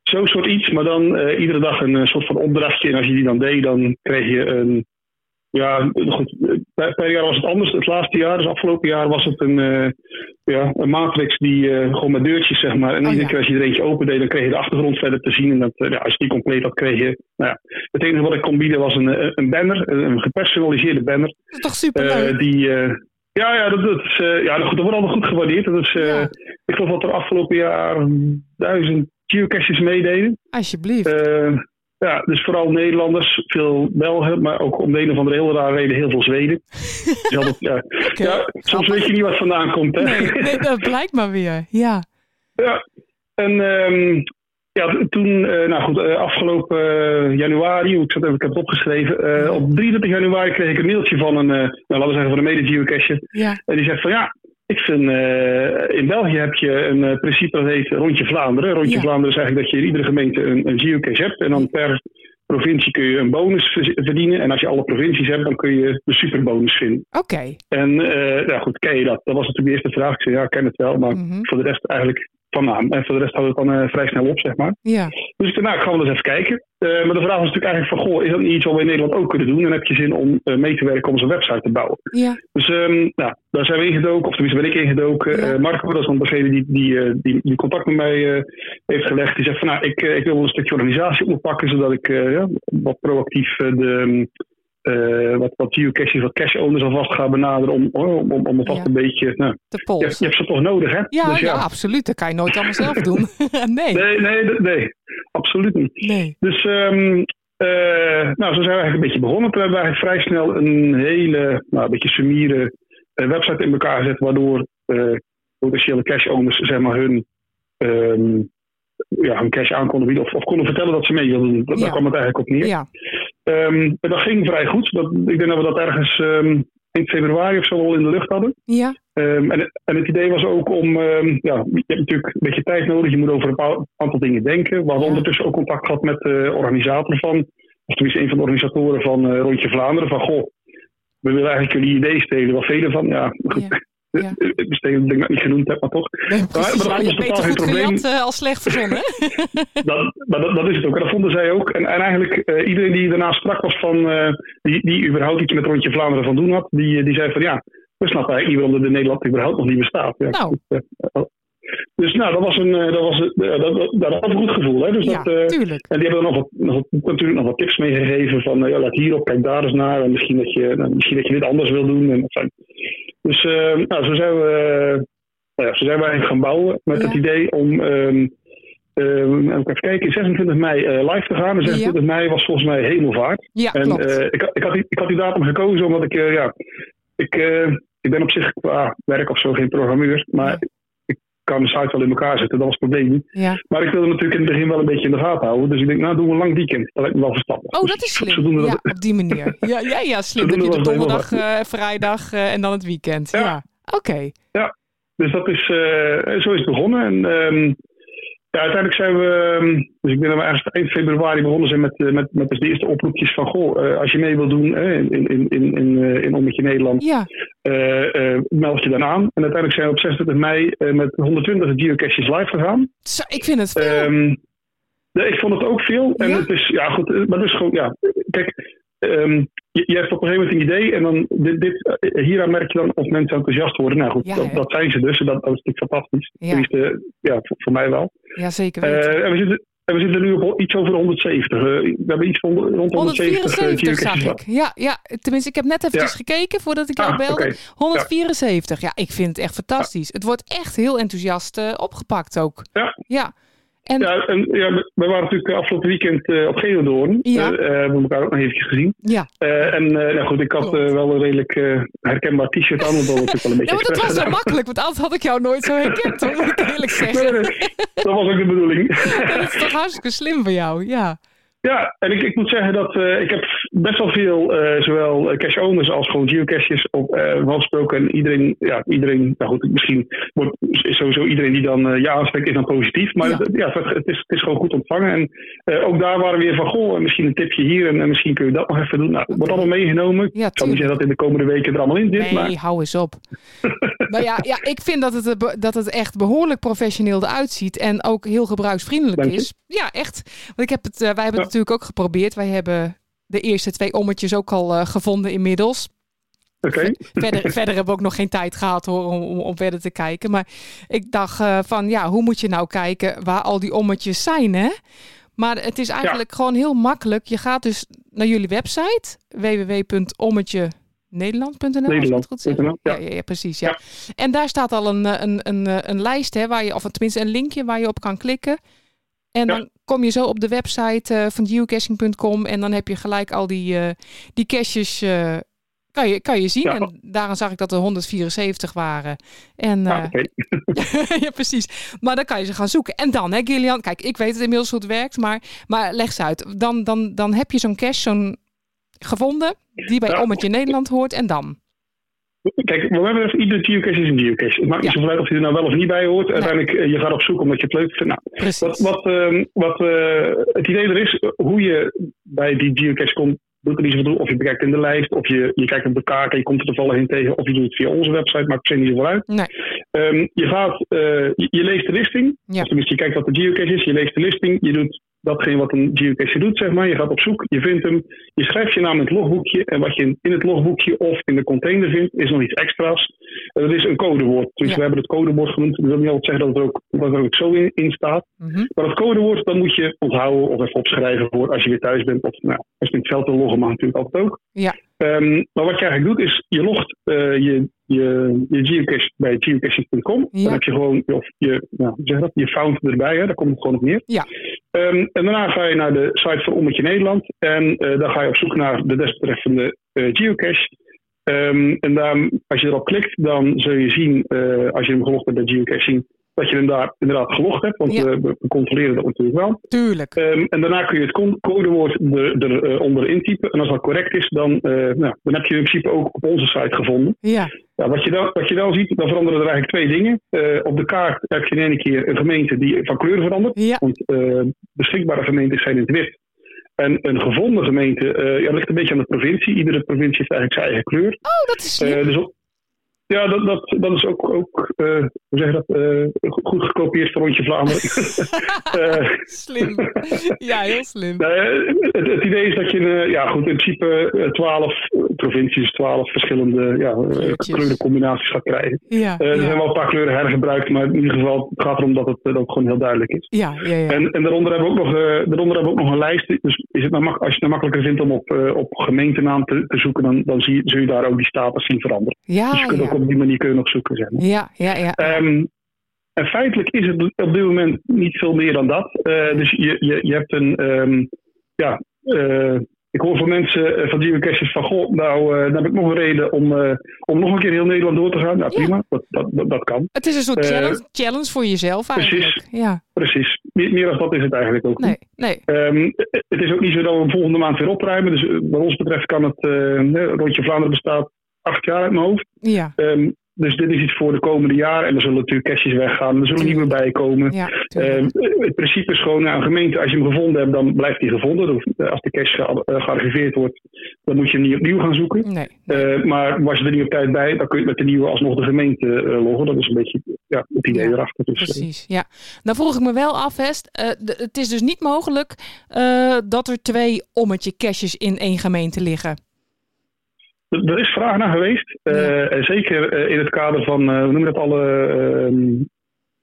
[SPEAKER 7] zo'n soort iets, maar dan eh, iedere dag een eh, soort van opdrachtje. En als je die dan deed, dan kreeg je een. Ja, goed. eh, Per, per jaar was het anders. Het laatste jaar, dus afgelopen jaar, was het een, eh, ja, een matrix die eh, gewoon met deurtjes, zeg maar. En
[SPEAKER 3] Oh,
[SPEAKER 7] iedere
[SPEAKER 3] ja.
[SPEAKER 7] keer als je er eentje opendeed, dan kreeg je de achtergrond verder te zien. En dat, eh, ja, als je die compleet had, kreeg je. Nou ja, het enige wat ik kon bieden was een, eh, een banner, een een gepersonaliseerde banner.
[SPEAKER 3] Dat is toch
[SPEAKER 7] Eh,
[SPEAKER 3] superleuk?
[SPEAKER 7] die, eh, ja, ja, dat, dat, is, eh, ja nou goed, dat wordt allemaal goed gewaardeerd. Dat is, eh,
[SPEAKER 3] Ja.
[SPEAKER 7] Ik geloof dat er afgelopen jaar duizend geocaches meededen.
[SPEAKER 3] Alsjeblieft.
[SPEAKER 7] Eh, ja, dus vooral Nederlanders, veel Belgen, maar ook om de een of andere hele rare reden heel veel Zweden. Dus altijd, ja.
[SPEAKER 3] Oké.
[SPEAKER 7] Ja, soms weet je niet wat vandaan komt. Hè?
[SPEAKER 3] Nee, nee, dat blijkt maar weer. Ja.
[SPEAKER 7] Ja, en ehm, ja, t- toen, eh, nou goed, eh, afgelopen eh, januari, hoe ik, zat, even- ik heb het opgeschreven, eh, op 23 januari kreeg ik een mailtje van een, eh, nou laten we zeggen van een mede-geocacher.
[SPEAKER 3] Ja.
[SPEAKER 7] En die zegt van ja, Ik vind, eh, in België heb je een eh, principe dat heet Rondje Vlaanderen. Rondje
[SPEAKER 3] Ja.
[SPEAKER 7] Vlaanderen is eigenlijk dat je in iedere gemeente een, een geocache hebt. En dan per provincie kun je een bonus ver- verdienen. En als je alle provincies hebt, dan kun je de superbonus vinden.
[SPEAKER 3] Oké.
[SPEAKER 7] En eh, nou goed, ken je dat? Dat was natuurlijk de eerste vraag. Ik zei, ja, ik ken het wel. Maar
[SPEAKER 3] Mhm.
[SPEAKER 7] voor de rest eigenlijk van naam. En voor de rest houdt het dan eh, vrij snel op, zeg maar.
[SPEAKER 3] Ja.
[SPEAKER 7] Dus ik dacht, nou, ik ga wel eens even kijken. Eh, maar de vraag was natuurlijk eigenlijk van, goh, is dat niet iets wat we in Nederland ook kunnen doen? En heb je zin om eh, mee te werken om zo'n website te bouwen?
[SPEAKER 3] Ja.
[SPEAKER 7] Dus ehm, nou, daar zijn we ingedoken, of tenminste ben ik ingedoken.
[SPEAKER 3] Ja.
[SPEAKER 7] Eh, Marco, dat is dan degene die, die, eh, die, die contact met mij eh, heeft gelegd. Die zegt van, nou, ik, eh, ik wil wel een stukje organisatie oppakken, zodat ik eh, ja, wat proactief eh, de... ehm, eh, wat, wat geocaching, wat cash owners alvast ga benaderen om, oh, om, om, om alvast
[SPEAKER 3] Ja.
[SPEAKER 7] een beetje... Nou,
[SPEAKER 3] De
[SPEAKER 7] je, hebt- je
[SPEAKER 3] polsen.
[SPEAKER 7] hebt ze toch nodig, hè?
[SPEAKER 3] Ja,
[SPEAKER 7] Dus
[SPEAKER 3] ja, absoluut. Dat kan je nooit allemaal zelf doen. nee.
[SPEAKER 7] Nee, nee, nee, nee, absoluut niet.
[SPEAKER 3] Nee.
[SPEAKER 7] Dus ehm, eh, nou, zo zijn we eigenlijk een beetje begonnen. Toen hebben we eigenlijk vrij snel een hele, nou, een beetje summiere eh, website in elkaar gezet, waardoor eh, potentiële cash owners zeg maar, hun, ehm, ja, hun cash aan konden bieden of, of konden vertellen dat ze mee wilden doen. Dat-
[SPEAKER 3] Ja.
[SPEAKER 7] Daar kwam het eigenlijk op neer.
[SPEAKER 3] Ja.
[SPEAKER 7] Ehm, en dat ging vrij goed. Dat, ik denk dat we dat ergens ehm, eind februari of zo al in de lucht hadden.
[SPEAKER 3] Ja.
[SPEAKER 7] Ehm, en, en het idee was ook om, ehm, ja, je hebt natuurlijk een beetje tijd nodig. Je moet over een paar- aantal dingen denken. We hadden ondertussen ook contact gehad met de organisator van, of tenminste een van de organisatoren van eh, Rondje Vlaanderen. Van, goh, we willen eigenlijk jullie idee stelen. Wat velen van, ja, goed.
[SPEAKER 3] Ja, ja.
[SPEAKER 7] Stelen denk ik dat ik niet genoemd heb, maar toch.
[SPEAKER 3] Nee, precies.
[SPEAKER 7] maar dat
[SPEAKER 3] Je hebt
[SPEAKER 7] was
[SPEAKER 3] beter
[SPEAKER 7] totaal geen
[SPEAKER 3] goed
[SPEAKER 7] probleem.
[SPEAKER 3] gejat eh, als slecht verzonnen.
[SPEAKER 7] Dat, maar dat, dat is het ook. En dat vonden zij ook. En, en eigenlijk eh, iedereen die daarna sprak was van, eh, die, die überhaupt iets met Rondje Vlaanderen van doen had, die, die zei van, ja, we snappen eigenlijk niet waarom dat in Nederland überhaupt nog niet bestaat. Ja,
[SPEAKER 3] Nou.
[SPEAKER 7] goed, eh, Dus nou, dat was een, eh, dat was, een- eh, dat, dat, dat had een goed gevoel. Hè? Dus
[SPEAKER 3] Ja,
[SPEAKER 7] dat, eh,
[SPEAKER 3] tuurlijk.
[SPEAKER 7] en die hebben er nog wat, nog wat- natuurlijk nog wat tips meegegeven van, eh, ja, laat hierop, kijk daar eens naar. En misschien dat je, nou, misschien dat je dit anders wil doen. En, enfin. Dus eh, nou, zo zijn we, eh, nou ja, zo zijn we eigenlijk gaan bouwen met
[SPEAKER 3] Ja.
[SPEAKER 7] het idee om, ehm ehm, even kijken, 26 mei eh, live te gaan. En 26 mei was volgens mij hemelvaart.
[SPEAKER 3] Ja,
[SPEAKER 7] En
[SPEAKER 3] klopt.
[SPEAKER 7] eh, ik, had- ik, had die, ik had die datum gekozen omdat ik, eh, ja, ik, eh, ik ben op zich qua werk of zo geen programmeur, maar
[SPEAKER 3] Nee.
[SPEAKER 7] ik kan de site wel in elkaar zetten, dat was het probleem niet.
[SPEAKER 3] ja.
[SPEAKER 7] Maar ik wilde natuurlijk in het begin wel een beetje in de gaten houden, dus ik denk, nou doen we een lang weekend, dat lijkt me wel verstandig.
[SPEAKER 3] Oh,
[SPEAKER 7] Dus
[SPEAKER 3] dat is
[SPEAKER 7] zodoende
[SPEAKER 3] slim.
[SPEAKER 7] dat-
[SPEAKER 3] Ja, op die manier. Ja, ja, ja slim. Dat
[SPEAKER 7] Zodoende
[SPEAKER 3] je de
[SPEAKER 7] was het
[SPEAKER 3] donderdag, eh, vrijdag eh, en dan het weekend. Ja.
[SPEAKER 7] Ja.
[SPEAKER 3] Oké.
[SPEAKER 7] Dus dat is, eh, zo is het begonnen. En ehm, ja, uiteindelijk zijn we, ehm, dus ik denk dat we ergens eind februari begonnen zijn met, eh, met, met dus de eerste oproepjes van, goh, eh, als je mee wilt doen eh, in, in, in, in, eh, in Ommetje Nederland,
[SPEAKER 3] Ja.
[SPEAKER 7] eh, eh, meld je dan aan. En uiteindelijk zijn we op 26 mei eh, met 120 geocaches live gegaan.
[SPEAKER 3] Zo, ik vind het veel.
[SPEAKER 7] Ehm, nee, ik vond het ook veel. En
[SPEAKER 3] Ja?
[SPEAKER 7] het is, ja, goed, eh, maar dus gewoon, ja. Kijk, ehm, je, je hebt op een gegeven moment een idee en dan dit, dit, eh, hieraan merk je dan of mensen enthousiast worden. Nou goed,
[SPEAKER 3] Ja,
[SPEAKER 7] dat,
[SPEAKER 3] hè?
[SPEAKER 7] dat zijn ze dus. en Dat, dat is natuurlijk fantastisch.
[SPEAKER 3] Ja.
[SPEAKER 7] Tenminste, ja, voor, voor mij wel.
[SPEAKER 3] ja, zeker weten.
[SPEAKER 7] Eh, en, we zitten, en we zitten nu op ho- iets over 170. eh, we hebben iets van rond 170
[SPEAKER 3] 174
[SPEAKER 7] geocaches
[SPEAKER 3] zag
[SPEAKER 7] gehad.
[SPEAKER 3] ik. Ja, ja, tenminste, ik heb net eventjes
[SPEAKER 7] Ja.
[SPEAKER 3] gekeken voordat ik jou
[SPEAKER 7] Ah,
[SPEAKER 3] belde.
[SPEAKER 7] oké.
[SPEAKER 3] 174. Ja. ik vind het echt fantastisch. Het wordt echt heel enthousiast eh, opgepakt ook.
[SPEAKER 7] Ja.
[SPEAKER 3] Ja. En ja.
[SPEAKER 7] Ja, en, ja, we we waren natuurlijk afgelopen weekend eh, op Geeldoorn.
[SPEAKER 3] Ja.
[SPEAKER 7] Eh, eh, hebben we elkaar ook nog eventjes gezien. Eh, en eh, nou goed, ik had eh, wel een redelijk eh, herkenbaar t-shirt aan. want dat was natuurlijk wel een beetje
[SPEAKER 3] Ja, maar dat
[SPEAKER 7] expres
[SPEAKER 3] was zo
[SPEAKER 7] gedaan.
[SPEAKER 3] makkelijk, want anders had ik jou nooit zo herkend, hoor, moet ik eerlijk
[SPEAKER 7] Nee,
[SPEAKER 3] zeggen.
[SPEAKER 7] nee, dat was ook de bedoeling.
[SPEAKER 3] Dat is toch hartstikke slim van jou, ja.
[SPEAKER 7] ja, en ik, ik moet zeggen dat eh, ik heb best wel veel, eh, zowel eh, cache owners als gewoon geocaches op eh gesproken. En iedereen, ja, iedereen, nou goed, misschien wordt, is sowieso iedereen die dan eh, ja aanspreekt, is dan positief. Maar
[SPEAKER 3] Ja.
[SPEAKER 7] het- ja, het, het is, het is gewoon goed ontvangen. En eh, ook daar waren we weer van, goh, misschien een tipje hier en, en misschien kun je dat nog even doen. Nou, het wordt allemaal meegenomen. Ik
[SPEAKER 3] Ja,
[SPEAKER 7] zou niet
[SPEAKER 3] tuurlijk.
[SPEAKER 7] zeggen dat in de komende weken er allemaal in zit, maar...
[SPEAKER 3] Nee, hou eens op. nou ja, ja, ik vind dat het, er be- dat het echt behoorlijk professioneel eruit ziet. En ook heel gebruiksvriendelijk
[SPEAKER 7] Dank je.
[SPEAKER 3] is. Ja, echt. Want ik heb het, eh, wij hebben
[SPEAKER 7] Ja.
[SPEAKER 3] het natuurlijk ook geprobeerd. Wij hebben de eerste twee ommetjes ook al eh, gevonden inmiddels.
[SPEAKER 7] Oké,
[SPEAKER 3] Nou, Verder, verder hebben we ook nog geen tijd gehad hoor, om, om, om verder te kijken. Maar ik dacht eh, van ja, hoe moet je nou kijken waar al die ommetjes zijn hè? Maar het is eigenlijk gewoon heel makkelijk. Je gaat dus naar jullie website www.ommetjenederland.nl. als ik het goed zeg.
[SPEAKER 7] Nederland.nl,
[SPEAKER 3] Ja,
[SPEAKER 7] ja.
[SPEAKER 3] ja, ja, precies. Ja. En daar staat al een, eh, een, een, eh, een lijst, hè, waar je, of tenminste een linkje waar je op kan klikken. En
[SPEAKER 7] Ja.
[SPEAKER 3] dan kom je zo op de website eh, van geocaching.com en dan heb je gelijk al die, eh, die caches eh, kan, je, kan je zien.
[SPEAKER 7] Ja.
[SPEAKER 3] En daaraan zag ik dat er 174 waren. En
[SPEAKER 7] nou,
[SPEAKER 3] eh,
[SPEAKER 7] oké. Nou.
[SPEAKER 3] ja, precies. Maar dan kan je ze gaan zoeken. En dan, hè, Gillian, kijk, ik weet het inmiddels hoe het werkt, maar, maar leg ze uit. Dan, dan, dan heb je zo'n cache, zo'n gevonden, die bij
[SPEAKER 7] Ja.
[SPEAKER 3] Ommetje Nederland hoort. En dan?
[SPEAKER 7] Kijk, wat mij betreft, iedere geocache is een geocache. Het maakt niet
[SPEAKER 3] Ja.
[SPEAKER 7] zoveel uit of je er nou wel of niet bij hoort. Uiteindelijk, eh, je gaat op zoek omdat je het leuk vindt. Nou, wat,
[SPEAKER 3] Precies.
[SPEAKER 7] wat, ehm, wat eh, het idee er is, eh, hoe je bij die geocache komt, doet er niet zoveel toe. Of je bekijkt in de lijst, of je, je kijkt op de kaart en je komt er toevallig in tegen. Of je doet het via onze website, maakt per se niet zoveel uit.
[SPEAKER 3] Nee.
[SPEAKER 7] Ehm, je, gaat, eh, je, je leest de listing.
[SPEAKER 3] Ja.
[SPEAKER 7] Of tenminste, je kijkt wat de geocache is, je leest de listing, je doet datgene wat een geocache doet, zeg maar. Je gaat op zoek, je vindt hem, je schrijft je naam in het logboekje en wat je in het logboekje of in de container vindt, is nog iets extra's. En dat is een codewoord. Dus
[SPEAKER 3] Ja.
[SPEAKER 7] we hebben het codewoord genoemd. Dus Dat wil niet altijd zeggen dat het ook, dat er ook zo in, in staat.
[SPEAKER 3] Mhm.
[SPEAKER 7] Maar dat codewoord, dat moet je onthouden of even opschrijven voor als je weer thuis bent. Of nou, als je in het veld wil loggen, maar natuurlijk altijd ook.
[SPEAKER 3] Ja.
[SPEAKER 7] Ehm, maar wat je eigenlijk doet, is je logt eh, je, je, je geocache bij geocaching.com.
[SPEAKER 3] Ja.
[SPEAKER 7] Dan heb je gewoon of je, nou, hoe zeg je dat, je found erbij, hè? daar komt het gewoon op neer.
[SPEAKER 3] Ja.
[SPEAKER 7] Ehm, en daarna ga je naar de site van Ommetje Nederland. En eh, dan ga je op zoek naar de desbetreffende eh, geocache. Ehm, en daar, als je erop klikt, dan zul je zien, eh, als je hem gelogd hebt bij geocaching, dat je hem daar inderdaad gelogd hebt. Want eh,
[SPEAKER 3] Ja.
[SPEAKER 7] we, we controleren dat natuurlijk wel.
[SPEAKER 3] Tuurlijk.
[SPEAKER 7] Ehm, en daarna kun je het con- codewoord eronder er, eh, onder intypen. En als dat correct is, dan, eh, nou, dan heb je in principe ook op onze site gevonden.
[SPEAKER 3] Ja,
[SPEAKER 7] Ja, wat, je dan, wat je dan ziet, dan veranderen er eigenlijk twee dingen. Eh, op de kaart heb je in één keer een gemeente die van kleur verandert.
[SPEAKER 3] ja,
[SPEAKER 7] Want eh, beschikbare gemeentes zijn in het wit. En een gevonden gemeente eh, ja, ligt een beetje aan de provincie. Iedere provincie heeft eigenlijk zijn eigen kleur.
[SPEAKER 3] oh, dat is slim.
[SPEAKER 7] Eh, dus op- ja, dat, dat, dat is ook, ook eh, hoe zeg je dat, eh, go- goed gekopieerd van Rondje Vlaanderen. Eh,
[SPEAKER 3] Slim. Ja, heel slim.
[SPEAKER 7] nou, eh, het, het idee is dat je, eh, ja goed, in principe eh, twaalf provincies, twaalf verschillende ja, eh,
[SPEAKER 3] Kleurtjes.
[SPEAKER 7] kleurencombinaties gaat krijgen.
[SPEAKER 3] Ja,
[SPEAKER 7] Eh, er zijn
[SPEAKER 3] ja,
[SPEAKER 7] wel een paar kleuren hergebruikt, maar in ieder geval het gaat erom dat het, eh, dat het gewoon heel duidelijk is.
[SPEAKER 3] ja, ja, ja.
[SPEAKER 7] En, en daaronder, hebben we ook nog, eh, daaronder hebben we ook nog een lijst. Dus is het nou mak- als je het nou makkelijker vindt om op, eh, op gemeentenaam te, te zoeken, dan, dan zie, je- zul je daar ook die status zien veranderen. dus je
[SPEAKER 3] Ah, Ja,
[SPEAKER 7] kunt ook
[SPEAKER 3] ja.
[SPEAKER 7] op die manier kun je nog zoeken. Zeg maar.
[SPEAKER 3] Ja, ja, ja.
[SPEAKER 7] Ehm, en feitelijk is het op dit moment niet veel meer dan dat. Eh, dus je, je, je hebt een. ehm, ja, eh, ik hoor van mensen eh, van geocaches van: Goh, nou, eh, dan heb ik nog een reden om, eh, om nog een keer heel Nederland door te gaan. Nou,
[SPEAKER 3] Ja.
[SPEAKER 7] prima, dat, dat, dat, dat kan.
[SPEAKER 3] Het is een soort
[SPEAKER 7] eh,
[SPEAKER 3] challenge, challenge voor jezelf eigenlijk. Ja,
[SPEAKER 7] Precies. Meer, meer dan dat is het eigenlijk ook. niet.
[SPEAKER 3] nee, nee.
[SPEAKER 7] Ehm, het is ook niet zo dat we hem volgende maand weer opruimen. Dus eh, wat ons betreft kan het. eh, Rondje Vlaanderen bestaat acht jaar uit mijn hoofd.
[SPEAKER 3] Ja,
[SPEAKER 7] Ehm, dus dit is iets voor de komende jaren. En er zullen natuurlijk cashjes weggaan. Er zullen nieuwe bij komen.
[SPEAKER 3] ja. tuurlijk.
[SPEAKER 7] Ehm, het principe is gewoon, nou, een gemeente, als je hem gevonden hebt, dan blijft hij gevonden. Dan hoeft- Als de cache ge- eh, gearchiveerd wordt, dan moet je hem niet opnieuw gaan zoeken.
[SPEAKER 3] Nee.
[SPEAKER 7] Eh, maar was je er niet op tijd bij, dan kun je met de nieuwe alsnog de gemeente eh, loggen. Dat is een beetje ja, het idee
[SPEAKER 3] Ja,
[SPEAKER 7] erachter. Dus, eh,
[SPEAKER 3] Precies, ja. Nou vroeg ik me wel af, Hest. eh, d- het is dus niet mogelijk eh, dat er twee ommetje caches in één gemeente liggen.
[SPEAKER 7] er- er is vraag naar geweest. Eh,
[SPEAKER 3] Ja.
[SPEAKER 7] en zeker eh, in het kader van, eh we noemen dat alle ehm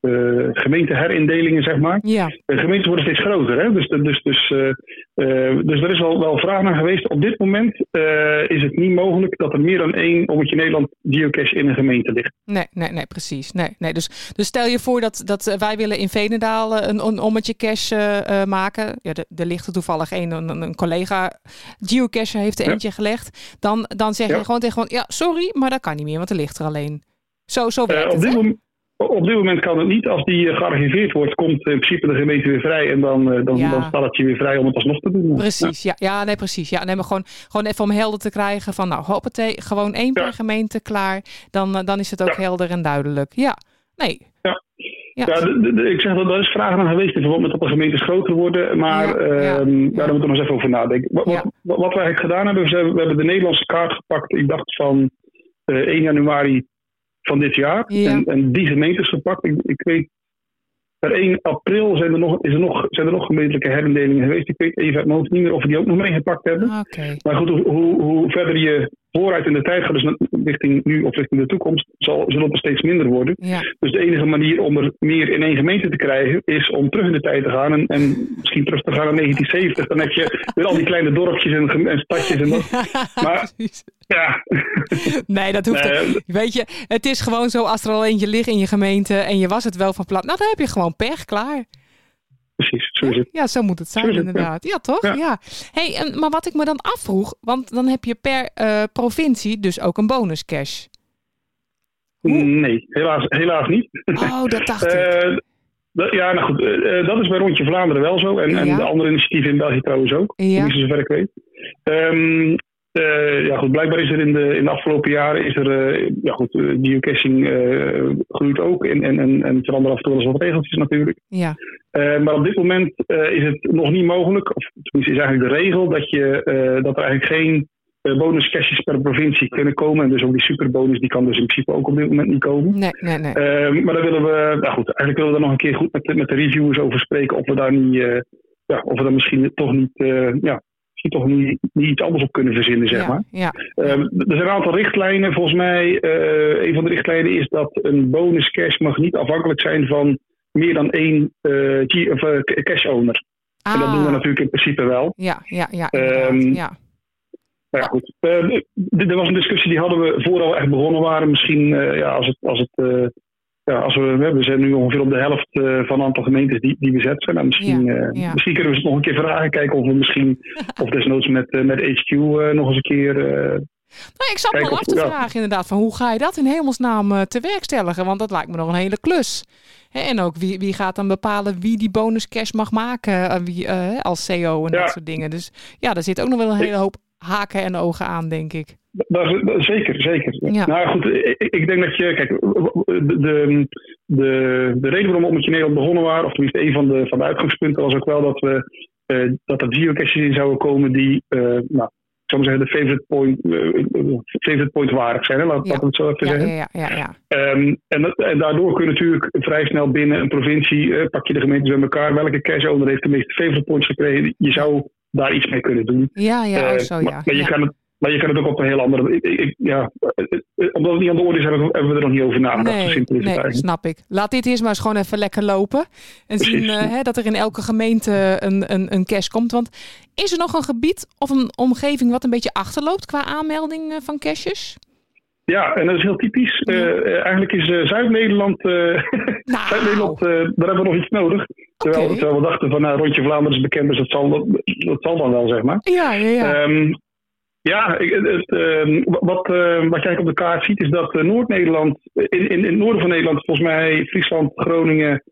[SPEAKER 7] eh, gemeenteherindelingen, zeg maar.
[SPEAKER 3] Ja,
[SPEAKER 7] De gemeentes worden steeds groter, hè? Dus, dus, dus, eh, eh, dus er is al wel vraag naar geweest. Op dit moment eh, is het niet mogelijk dat er meer dan één Ommetje Nederland geocache in een gemeente ligt.
[SPEAKER 3] nee, nee, nee, precies. Nee, nee. Dus, dus stel je voor dat, dat eh, wij willen in Venendaal eh, een, een ommetje cache eh, eh, maken. Ja, er- er ligt er toevallig een, een, een collega geocache heeft er
[SPEAKER 7] Ja.
[SPEAKER 3] eentje gelegd. Dan, dan zeg
[SPEAKER 7] Ja.
[SPEAKER 3] je gewoon tegen gewoon, ja, sorry, maar dat kan niet meer, want er ligt er alleen. Zo, zo
[SPEAKER 7] Eh,
[SPEAKER 3] werkt
[SPEAKER 7] op,
[SPEAKER 3] het,
[SPEAKER 7] dit
[SPEAKER 3] hè?
[SPEAKER 7] mom- op dit moment kan het niet. Als die eh, gearchiveerd wordt, komt in principe de gemeente weer vrij. En dan, eh, dan,
[SPEAKER 3] Ja.
[SPEAKER 7] dan staat het je weer vrij om het alsnog te doen.
[SPEAKER 3] Precies, ja. ja, nee, precies. Ja, nee, maar gewoon, gewoon even om helder te krijgen van, nou, hoppatee, gewoon één per
[SPEAKER 7] Ja.
[SPEAKER 3] gemeente klaar. Dan, eh, dan is het ook
[SPEAKER 7] Ja.
[SPEAKER 3] helder en duidelijk. Ja, nee.
[SPEAKER 7] Ja.
[SPEAKER 3] ja.
[SPEAKER 7] Ja, d- d- d- ik zeg dat er is vragen naar geweest in verband met dat de gemeentes groter worden. Maar
[SPEAKER 3] Ja, ja,
[SPEAKER 7] ehm,
[SPEAKER 3] ja.
[SPEAKER 7] daar moeten we nog eens even over nadenken. Wat, wat,
[SPEAKER 3] Ja.
[SPEAKER 7] wat, wat we eigenlijk gedaan hebben, we hebben, we hebben de Nederlandse kaart gepakt. Ik dacht van eh, 1 januari van dit jaar.
[SPEAKER 3] Ja.
[SPEAKER 7] En, en die gemeentes gepakt. Ik, ik weet, per 1 april zijn er, nog, is er nog, zijn er nog gemeentelijke herindelingen geweest. Ik weet even uit mijn hoofd niet meer of we die ook nog meegepakt hebben.
[SPEAKER 3] Oké,
[SPEAKER 7] Maar goed, hoe, hoe, hoe verder je vooruit in de tijd gaat, dus na- richting nu of richting de toekomst, zal, zullen er steeds minder worden.
[SPEAKER 3] ja.
[SPEAKER 7] Dus de enige manier om er meer in één gemeente te krijgen, is om terug in de tijd te gaan. En, en misschien terug te gaan naar 1970. Dan heb je weer al die kleine dorpjes en, gem- en stadjes. En dat. Maar-
[SPEAKER 3] Precies.
[SPEAKER 7] Ja,
[SPEAKER 3] Nee, dat hoeft
[SPEAKER 7] Nee,
[SPEAKER 3] niet. Weet je, het is gewoon zo als er al eentje ligt in je gemeente en je was het wel van plan. Nou, dan heb je gewoon pech, klaar.
[SPEAKER 7] precies. Zo is het.
[SPEAKER 3] Ja, zo moet het zijn
[SPEAKER 7] Tuurlijk, ja.
[SPEAKER 3] inderdaad. Ja, toch? Ja.
[SPEAKER 7] Ja.
[SPEAKER 3] Hey, en- maar wat ik me dan afvroeg, want dan heb je per eh, provincie dus ook een bonuscash. Hoe?
[SPEAKER 7] Nee, helaas, helaas niet.
[SPEAKER 3] Oh, dat dacht ik.
[SPEAKER 7] Eh, dat- ja, nou goed. eh, eh, dat is bij Rondje Vlaanderen wel zo. En, en
[SPEAKER 3] Ja.
[SPEAKER 7] Eh, de andere initiatieven in België trouwens ook.
[SPEAKER 3] Ja.
[SPEAKER 7] Niet zover ik weet. Ehm, Eh, ja, goed, blijkbaar is er in de, in de afgelopen jaren is er, eh, ja, goed, eh, geocaching eh, groeit ook en, en, en, en veranderen af en toe wel eens wat regeltjes natuurlijk.
[SPEAKER 3] Ja,
[SPEAKER 7] Eh, maar op dit moment eh, is het nog niet mogelijk, of tenminste is eigenlijk de regel dat, je, eh, dat er eigenlijk geen eh bonus caches per provincie kunnen komen. En dus ook die superbonus die kan dus in principe ook op dit moment niet komen.
[SPEAKER 3] nee, nee, nee.
[SPEAKER 7] Ehm, maar daar willen we, nou goed, eigenlijk willen we daar nog een keer goed met, met de reviewers over spreken. Of we daar niet, eh, ja, of we daar misschien toch niet, eh, ja, misschien toch niet, niet iets anders op kunnen verzinnen, zeg
[SPEAKER 3] ja,
[SPEAKER 7] maar.
[SPEAKER 3] Ja,
[SPEAKER 7] Ehm, d- er zijn een aantal richtlijnen. Volgens mij, eh, een van de richtlijnen is dat een bonus cash mag niet afhankelijk zijn van meer dan één eh, G- of, eh, c- cash owner. En dat
[SPEAKER 3] Ah,
[SPEAKER 7] doen we natuurlijk in principe wel.
[SPEAKER 3] Ja, ja, ja,
[SPEAKER 7] Ehm,
[SPEAKER 3] inderdaad, ja.
[SPEAKER 7] Nou ja, goed. Eh, d- er was een discussie die hadden we voordat we echt begonnen waren. Misschien eh, ja, als het. Als het eh, ja, als we, we zijn nu ongeveer op de helft eh, van het aantal gemeentes die, die bezet zijn. Nou, misschien,
[SPEAKER 3] Ja,
[SPEAKER 7] eh,
[SPEAKER 3] ja.
[SPEAKER 7] misschien kunnen we ze nog een keer vragen. Kijken of we misschien, of desnoods met, eh, met HQ eh, nog eens een keer. eh,
[SPEAKER 3] Nou, ik zat me
[SPEAKER 7] Kijk,
[SPEAKER 3] al
[SPEAKER 7] of-
[SPEAKER 3] af te
[SPEAKER 7] ja.
[SPEAKER 3] vragen inderdaad, van hoe ga je dat in hemelsnaam eh, te werkstelligen? Want dat lijkt me nog een hele klus. Hè, en ook wie, wie gaat dan bepalen wie die bonuscash mag maken eh, wie, eh, als CEO en
[SPEAKER 7] Ja.
[SPEAKER 3] dat soort dingen. Dus ja, daar zit ook nog wel een hele hoop haken en ogen aan, denk ik.
[SPEAKER 7] Daar- daar- zeker, zeker.
[SPEAKER 3] Ja.
[SPEAKER 7] Nou goed, ik, ik denk dat je. Kijk, de, de, de, de reden waarom we met je Nederland begonnen waren, of tenminste een van de, van de uitgangspunten, was ook wel dat, we, eh, dat er geocaches in zouden komen die, eh, nou, ik zou maar zeggen, de favorite point, eh, favorite point waardig zijn. Hè? Laat,
[SPEAKER 3] Ja.
[SPEAKER 7] laten we het zo even
[SPEAKER 3] Ja,
[SPEAKER 7] zeggen.
[SPEAKER 3] ja, ja, ja, ja.
[SPEAKER 7] Ehm, en, dat- en daardoor kun je natuurlijk vrij snel binnen een provincie, eh, pak je de gemeentes bij elkaar, welke cash owner heeft de meeste favorite points gekregen. Je zou daar iets mee kunnen doen.
[SPEAKER 3] Ja, ja, oh,
[SPEAKER 7] Eh,
[SPEAKER 3] zo
[SPEAKER 7] maar,
[SPEAKER 3] ja.
[SPEAKER 7] maar je
[SPEAKER 3] Ja.
[SPEAKER 7] kan het, maar je kan het ook op een heel andere. Ik, ik- ik- ja, eh, eh, omdat het niet aan de orde is, hebben we, hebben we er nog niet over nagedacht. Zo
[SPEAKER 3] Nee,
[SPEAKER 7] simpel is het
[SPEAKER 3] nee,
[SPEAKER 7] eigenlijk.
[SPEAKER 3] snap ik. Laat dit eerst maar eens gewoon even lekker lopen. En zien
[SPEAKER 7] Precies.
[SPEAKER 3] eh, hè, dat er in elke gemeente een, een, een cash komt. Want is er nog een gebied of een omgeving wat een beetje achterloopt qua aanmelding eh, van cashes?
[SPEAKER 7] Ja, en dat is heel typisch. Eh,
[SPEAKER 3] Ja.
[SPEAKER 7] eh, eigenlijk is eh, Zuid-Nederland. eh,
[SPEAKER 3] Nou.
[SPEAKER 7] Zuid-Nederland, eh, daar hebben we nog iets nodig. Terwijl,
[SPEAKER 3] Oké.
[SPEAKER 7] terwijl we dachten van nou, rondje Vlaanderen is bekend, dus dat zal, dat, dat zal dan wel, zeg maar.
[SPEAKER 3] Ja, ja, ja.
[SPEAKER 7] Ehm, ja, ik- het, het, ehm, wat, ehm, wat jij op de kaart ziet is dat eh, Noord-Nederland, in, in, in het noorden van Nederland, volgens mij Friesland, Groningen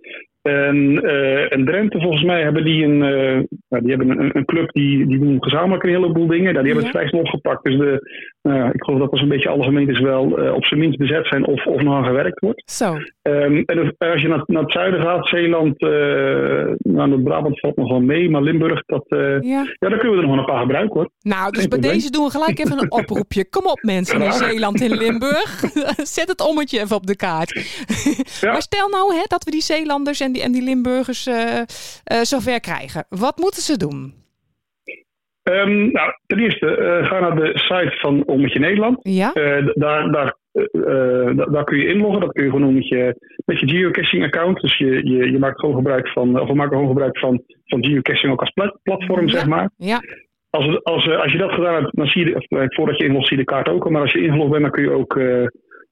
[SPEAKER 7] en, eh, en Drenthe, volgens mij hebben die een, eh, nou, die hebben een, een club die, die doen gezamenlijk een heleboel dingen. Nou, die hebben het
[SPEAKER 3] Ja.
[SPEAKER 7] vrij snel opgepakt. Dus de, nou ja, ik geloof dat er zo'n beetje alle gemeentes wel eh, op zijn minst bezet zijn of, of nog aan gewerkt wordt.
[SPEAKER 3] Zo,
[SPEAKER 7] Ehm, en als je naar, naar het zuiden gaat, Zeeland, eh nou, dat Brabant valt nog wel mee, maar Limburg, dat, eh,
[SPEAKER 3] ja.
[SPEAKER 7] ja, daar kunnen we er nog een paar gebruiken hoor.
[SPEAKER 3] Nou, dus
[SPEAKER 7] Geen
[SPEAKER 3] bij
[SPEAKER 7] probleem.
[SPEAKER 3] deze doen we gelijk even een oproepje. Kom op mensen in Zeeland en Limburg. Zet het ommetje even op de kaart.
[SPEAKER 7] Ja.
[SPEAKER 3] Maar stel nou hè, dat we die Zeelanders en die, en die Limburgers eh, eh, zover krijgen. Wat moeten ze doen?
[SPEAKER 7] Ehm, nou, ten eerste, eh, ga naar de site van Ommetje Nederland.
[SPEAKER 3] Ja?
[SPEAKER 7] Eh, d- daar, daar, eh, eh, da- daar kun je inloggen. Dat kun je gewoon doen met je, met je geocaching-account. Dus je, je, je maakt gewoon gebruik van, eh, of we maken gewoon gebruik van, van geocaching ook als pla- platform, zeg maar.
[SPEAKER 3] Ja,
[SPEAKER 7] Als, het- als, eh, als je dat gedaan hebt, dan zie je, de- of, eh, voordat je inlogt, zie je de kaart ook al. Maar als je ingelogd bent, dan kun je ook, eh,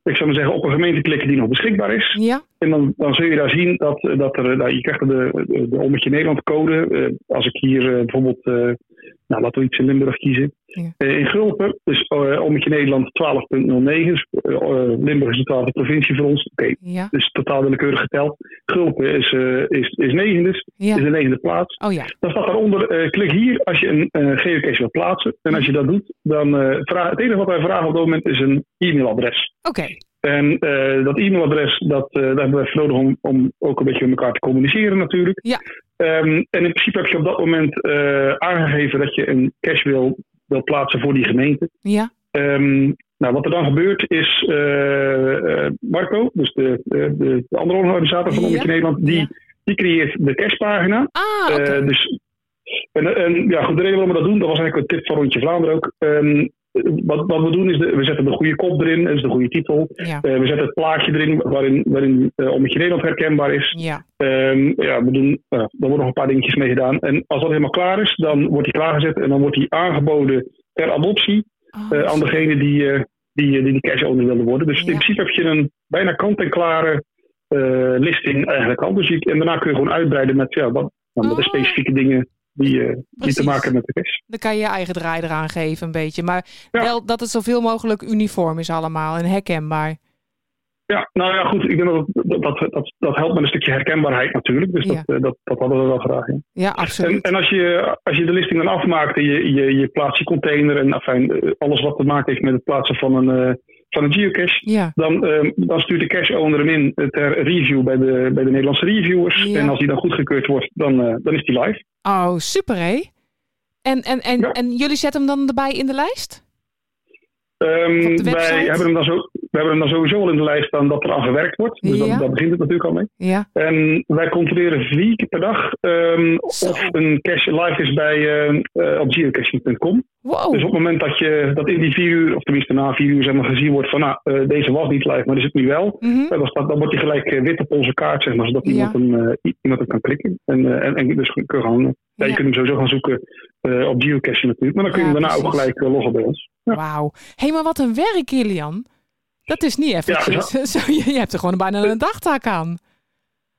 [SPEAKER 7] ik zou maar zeggen, op een gemeente klikken die nog beschikbaar is.
[SPEAKER 3] ja,
[SPEAKER 7] En dan, dan zul je daar zien dat, eh, dat er, eh, nou, je krijgt de, de, de Ommetje Nederland code. Eh, als ik hier eh, bijvoorbeeld, eh, nou laten we iets in Limburg kiezen.
[SPEAKER 3] Ja.
[SPEAKER 7] Eh, in Gulpen, dus eh, Ommetje Nederland 12.09. Dus, eh, eh, Limburg is de twaalfde provincie voor ons. Oké,
[SPEAKER 3] ja,
[SPEAKER 7] dus totaal willekeurig geteld. Gulpen is, eh is, is negende, is
[SPEAKER 3] ja.
[SPEAKER 7] de negende plaats.
[SPEAKER 3] Oh ja,
[SPEAKER 7] Dan staat daaronder, eh, klik hier als je een eh, geocache wilt plaatsen. En als je dat doet, dan eh vraag, het enige wat wij vragen op dat moment is een e-mailadres.
[SPEAKER 3] oké.
[SPEAKER 7] En eh, dat e-mailadres, dat, eh, daar hebben we even nodig om, om ook een beetje met elkaar te communiceren natuurlijk.
[SPEAKER 3] Ja.
[SPEAKER 7] Ehm, en in principe heb je op dat moment eh, aangegeven dat je een cash wil, wil plaatsen voor die gemeente.
[SPEAKER 3] Ja,
[SPEAKER 7] Ehm, nou, wat er dan gebeurt is, eh, eh, Marco, dus de, de, de- de andere organisator van
[SPEAKER 3] Ja.
[SPEAKER 7] Omroep Nederland, die,
[SPEAKER 3] Ja.
[SPEAKER 7] die creëert de cashpagina.
[SPEAKER 3] ah, oké.
[SPEAKER 7] Eh, dus, en, en ja, goed, de reden waarom we dat doen, dat was eigenlijk een tip van Rondje Vlaanderen ook. Ehm, wat, wat we doen is, de- we zetten de goede kop erin, dat is de goede titel.
[SPEAKER 3] ja,
[SPEAKER 7] Eh, we zetten het plaatje erin waarin, waarin eh Ommetje Nederland herkenbaar is.
[SPEAKER 3] ja,
[SPEAKER 7] Ehm, ja, we doen, eh, daar worden nog een paar dingetjes mee gedaan. En als dat helemaal klaar is, dan wordt die klaargezet en dan wordt die aangeboden ter adoptie
[SPEAKER 3] Oh,
[SPEAKER 7] eh, aan degene die, eh, die, eh, die die cash owner willen worden. Dus
[SPEAKER 3] Ja.
[SPEAKER 7] in principe heb je een bijna kant-en-klare eh, listing eigenlijk al. Dus je, en daarna kun je gewoon uitbreiden met, ja, wat, nou, met de
[SPEAKER 3] Ah.
[SPEAKER 7] specifieke dingen die, eh, die
[SPEAKER 3] Precies.
[SPEAKER 7] te maken hebben met de cash.
[SPEAKER 3] Dan kan je je eigen draai eraan geven een beetje. Maar
[SPEAKER 7] Ja.
[SPEAKER 3] wel dat het zoveel mogelijk uniform is allemaal en herkenbaar.
[SPEAKER 7] Ja, nou ja, goed. Ik denk dat dat, dat, dat, dat helpt met een stukje herkenbaarheid natuurlijk. Dus
[SPEAKER 3] Ja.
[SPEAKER 7] dat, eh, dat, dat hadden we wel graag. ja.
[SPEAKER 3] Ja,
[SPEAKER 7] En,
[SPEAKER 3] absoluut.
[SPEAKER 7] en als, je, als je de listing dan afmaakt en je, je, je plaatst je container en enfin, eh, alles wat te maken heeft met het plaatsen van een, eh, van een geocache,
[SPEAKER 3] Ja,
[SPEAKER 7] dan, ehm, dan stuurt de cache owner hem in eh, ter review bij de, bij de Nederlandse reviewers.
[SPEAKER 3] Ja.
[SPEAKER 7] En als die dan goedgekeurd wordt, dan, eh, dan is die live.
[SPEAKER 3] oh, super hé. En, en, en,
[SPEAKER 7] Ja.
[SPEAKER 3] en jullie zetten hem dan erbij in de lijst?
[SPEAKER 7] Ehm,
[SPEAKER 3] Op de website?
[SPEAKER 7] wij hebben hem dan zo, we hebben hem dan sowieso al in de lijst staan dat er aan gewerkt wordt. Dus
[SPEAKER 3] Ja.
[SPEAKER 7] dat, daar begint het natuurlijk al mee.
[SPEAKER 3] Ja,
[SPEAKER 7] En wij controleren vier keer per dag ehm,
[SPEAKER 3] Zo.
[SPEAKER 7] of een cache live is bij, ehm, eh, op geocaching.com.
[SPEAKER 3] wow.
[SPEAKER 7] Dus op het moment dat, je, dat in die vier uur, of tenminste na vier uur, zeg maar, gezien wordt van nou, eh, deze was niet live, maar is het nu wel.
[SPEAKER 3] Mhm.
[SPEAKER 7] Ja, Dan, staat, dan wordt hij gelijk eh, wit op onze kaart, zeg maar, zodat
[SPEAKER 3] Ja.
[SPEAKER 7] iemand, hem, eh, i- iemand hem kan klikken. En, eh, en, en dus kun kun je gaan, ja,
[SPEAKER 3] Ja.
[SPEAKER 7] je kunt hem sowieso gaan zoeken eh, op geocaching natuurlijk. Maar dan kun je
[SPEAKER 3] Ja,
[SPEAKER 7] hem daarna ook
[SPEAKER 3] precies.
[SPEAKER 7] gelijk eh, loggen bij ons. Ja.
[SPEAKER 3] Wauw. Hé, maar wat een werk, Kilian. Dat is niet eventjes. Zo, je, je hebt er gewoon bijna een dagtaak aan.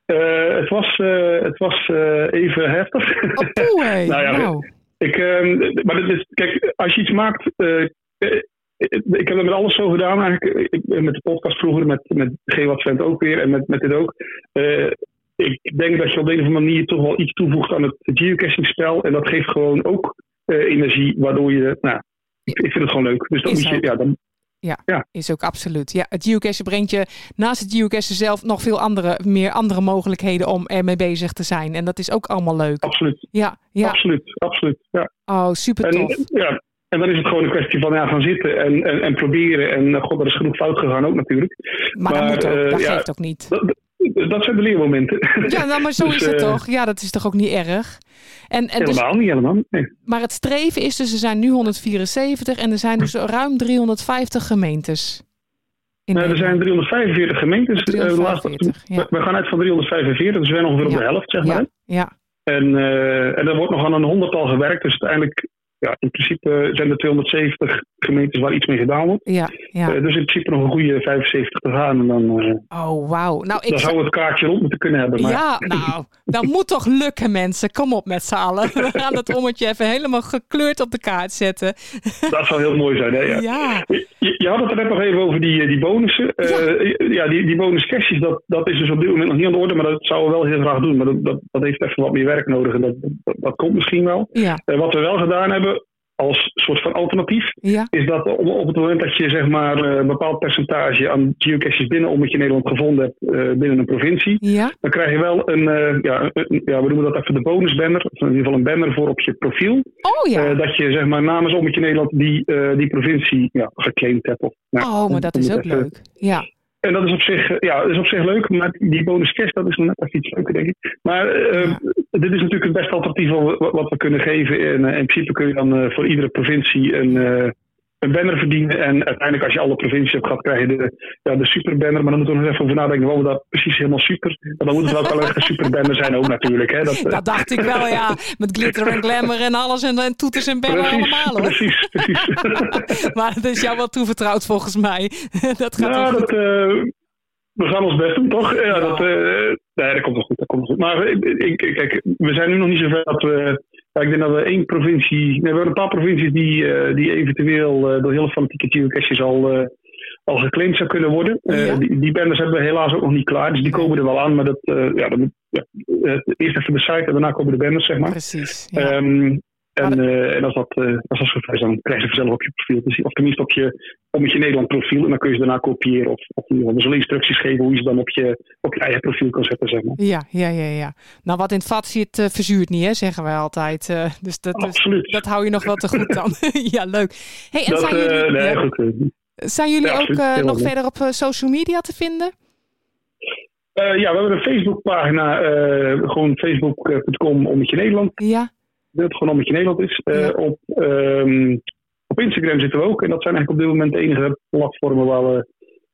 [SPEAKER 7] Eh, het was, eh, het was eh, even heftig.
[SPEAKER 3] Oh, poeh, hé.
[SPEAKER 7] Nou ja, we-
[SPEAKER 3] Nou,
[SPEAKER 7] Ik, ehm, maar dit is, kijk, als je iets maakt. eh, eh, ik heb het met alles zo gedaan eigenlijk. Ik, ik- met de podcast vroeger, met, met G-Wat Vent ook weer en met, met dit ook. Eh, ik denk dat je op de een of andere manier toch wel iets toevoegt aan het geocaching spel. En dat geeft gewoon ook eh, energie, waardoor je. Nou, ik, ik vind het gewoon leuk. Dus dat
[SPEAKER 3] Is
[SPEAKER 7] moet je.
[SPEAKER 3] ook.
[SPEAKER 7] Ja, dan,
[SPEAKER 3] is ook absoluut. Ja, het geocachen brengt je naast het geocachen zelf nog veel andere, meer andere mogelijkheden om ermee bezig te zijn. En dat is ook allemaal leuk.
[SPEAKER 7] absoluut,
[SPEAKER 3] Ja, ja.
[SPEAKER 7] absoluut, absoluut. Ja.
[SPEAKER 3] Oh, super tof.
[SPEAKER 7] En, eh, ja, en dan is het gewoon een kwestie van ja, gaan zitten en, en, en proberen. En eh, god, er is genoeg fout gegaan ook natuurlijk.
[SPEAKER 3] Maar dat
[SPEAKER 7] maar,
[SPEAKER 3] moet ook.
[SPEAKER 7] eh,
[SPEAKER 3] Dat
[SPEAKER 7] ja.
[SPEAKER 3] geeft ook niet.
[SPEAKER 7] Dat, dat zijn de leermomenten.
[SPEAKER 3] Ja, nou, maar zo
[SPEAKER 7] Dus,
[SPEAKER 3] is het
[SPEAKER 7] eh,
[SPEAKER 3] toch. Ja, dat is toch ook niet erg. En, en dus,
[SPEAKER 7] helemaal niet, helemaal niet. Nee.
[SPEAKER 3] maar het streven is dus, er zijn nu 174 en er zijn dus ruim 350 gemeentes. In
[SPEAKER 7] Nou, er zijn
[SPEAKER 3] Nederland.
[SPEAKER 7] 345 gemeentes. eh, de laatste-
[SPEAKER 3] 345, ja.
[SPEAKER 7] we, we gaan uit van 345, dus we zijn ongeveer op
[SPEAKER 3] Ja.
[SPEAKER 7] de helft, zeg maar.
[SPEAKER 3] Ja, ja.
[SPEAKER 7] En, eh, en er wordt nog aan een honderdtal gewerkt, dus uiteindelijk, ja, in principe eh, zijn er 270 gemeentes waar iets mee gedaan wordt.
[SPEAKER 3] Ja, ja.
[SPEAKER 7] Eh, dus in principe nog een goede 75 te gaan. En dan, eh,
[SPEAKER 3] Oh, wauw. Nou,
[SPEAKER 7] dan
[SPEAKER 3] ik
[SPEAKER 7] zou het kaartje rond moeten kunnen hebben. Maar
[SPEAKER 3] Ja, nou, dat moet toch lukken, mensen. Kom op met z'n allen. We gaan dat ommetje even helemaal gekleurd op de kaart zetten.
[SPEAKER 7] dat zou heel mooi zijn. Hè, ja.
[SPEAKER 3] Ja,
[SPEAKER 7] Je, je had het er net nog even over die, eh, die bonussen. Eh, ja, die, die bonuscashjes, dat, dat is dus op dit moment nog niet aan de orde, maar dat zouden we wel heel graag doen. Maar dat, dat, dat heeft even wat meer werk nodig en dat, dat, dat komt misschien wel.
[SPEAKER 3] ja,
[SPEAKER 7] Eh, wat we wel gedaan hebben als soort van alternatief,
[SPEAKER 3] ja.
[SPEAKER 7] is dat op, op het moment dat je zeg maar, eh, een bepaald percentage aan geocaches binnen omdat je Nederland gevonden hebt eh, binnen een provincie,
[SPEAKER 3] Ja,
[SPEAKER 7] dan krijg je wel een, eh, ja, een- ja, we noemen dat even de bonusbanner, of in ieder geval een banner voor op je profiel.
[SPEAKER 3] oh
[SPEAKER 7] Eh,
[SPEAKER 3] ja.
[SPEAKER 7] dat je zeg maar, namens Ommetje Nederland die, eh, die provincie ja, geclaimd hebt. Of, nou,
[SPEAKER 3] Oh, maar dat
[SPEAKER 7] om
[SPEAKER 3] is
[SPEAKER 7] het
[SPEAKER 3] ook
[SPEAKER 7] even-
[SPEAKER 3] leuk. Ja,
[SPEAKER 7] En dat is op zich, eh, ja, dat is op zich leuk, maar die bonus cash, dat is nog net even iets leuker, denk ik. Maar eh,
[SPEAKER 3] Ja.
[SPEAKER 7] dit is natuurlijk het beste alternatief wat, we- wat we kunnen geven. En eh, in principe kun je dan eh, voor iedere provincie een, eh, een banner verdienen. En uiteindelijk, als je alle provincies hebt gehad, krijg je de, ja, de superbanner. Maar dan moeten we nog even over nadenken, wat we daar precies helemaal super. Maar dan moet het wel wel echt een superbanner zijn ook natuurlijk. Hè? Dat, eh,
[SPEAKER 3] dat dacht ik wel, ja. Met glitter en glamour en alles en, en toeters en bellen
[SPEAKER 7] precies,
[SPEAKER 3] allemaal. Hoor.
[SPEAKER 7] precies, precies.
[SPEAKER 3] Maar dat is jou wel toevertrouwd volgens mij. Dat gaat wel
[SPEAKER 7] Nou,
[SPEAKER 3] goed.
[SPEAKER 7] dat, eh, we gaan ons best doen, toch? Ja, Dat, eh, nee, dat komt wel goed. Dat komt wel goed. Maar ik, ik, kijk, we zijn nu nog niet zover dat we. ja, ik denk dat we één provincie. Nee, we hebben een paar provincies die, eh, die eventueel eh, door heel fanatieke geocaches al, eh, al geclaimd zou kunnen worden. Eh,
[SPEAKER 3] Ja.
[SPEAKER 7] die, die banners hebben we helaas ook nog niet klaar, dus die komen er wel aan. Maar dat, eh, ja, dat moet, ja, eh, eerst even de site en daarna komen de banners, zeg maar.
[SPEAKER 3] Precies. Ja.
[SPEAKER 7] Ehm,
[SPEAKER 3] Maar
[SPEAKER 7] en, eh, en als dat, eh als dat zover is, dan krijg je ze zelf op je profiel te zien. Of tenminste op je, op je Nederland profiel. En dan kun je ze daarna kopiëren. Of, of in ieder geval. We zullen instructies geven hoe je ze dan op je, op je eigen profiel kan zetten, zeg maar.
[SPEAKER 3] Ja, ja, ja, ja. Nou, wat in het vat zit, eh, verzuurt niet, hè, zeggen wij altijd. Eh, dus dat, is,
[SPEAKER 7] Absoluut.
[SPEAKER 3] dat hou je nog wel te goed dan. ja, leuk. Hey, en
[SPEAKER 7] Dat,
[SPEAKER 3] zijn
[SPEAKER 7] eh,
[SPEAKER 3] jullie,
[SPEAKER 7] nee,
[SPEAKER 3] ja.
[SPEAKER 7] goed. eh.
[SPEAKER 3] Zijn jullie
[SPEAKER 7] Ja,
[SPEAKER 3] ook
[SPEAKER 7] absoluut.
[SPEAKER 3] eh,
[SPEAKER 7] Heel
[SPEAKER 3] nog
[SPEAKER 7] leuk.
[SPEAKER 3] verder op eh, social media te vinden?
[SPEAKER 7] Eh, ja, we hebben een Facebookpagina. eh gewoon facebook.com ommetje Nederland.
[SPEAKER 3] Ja.
[SPEAKER 7] Dat het gewoon ommetje Nederland is. Eh,
[SPEAKER 3] Ja.
[SPEAKER 7] op, ehm, op Instagram zitten we ook. En dat zijn eigenlijk op dit moment de enige platformen waar we,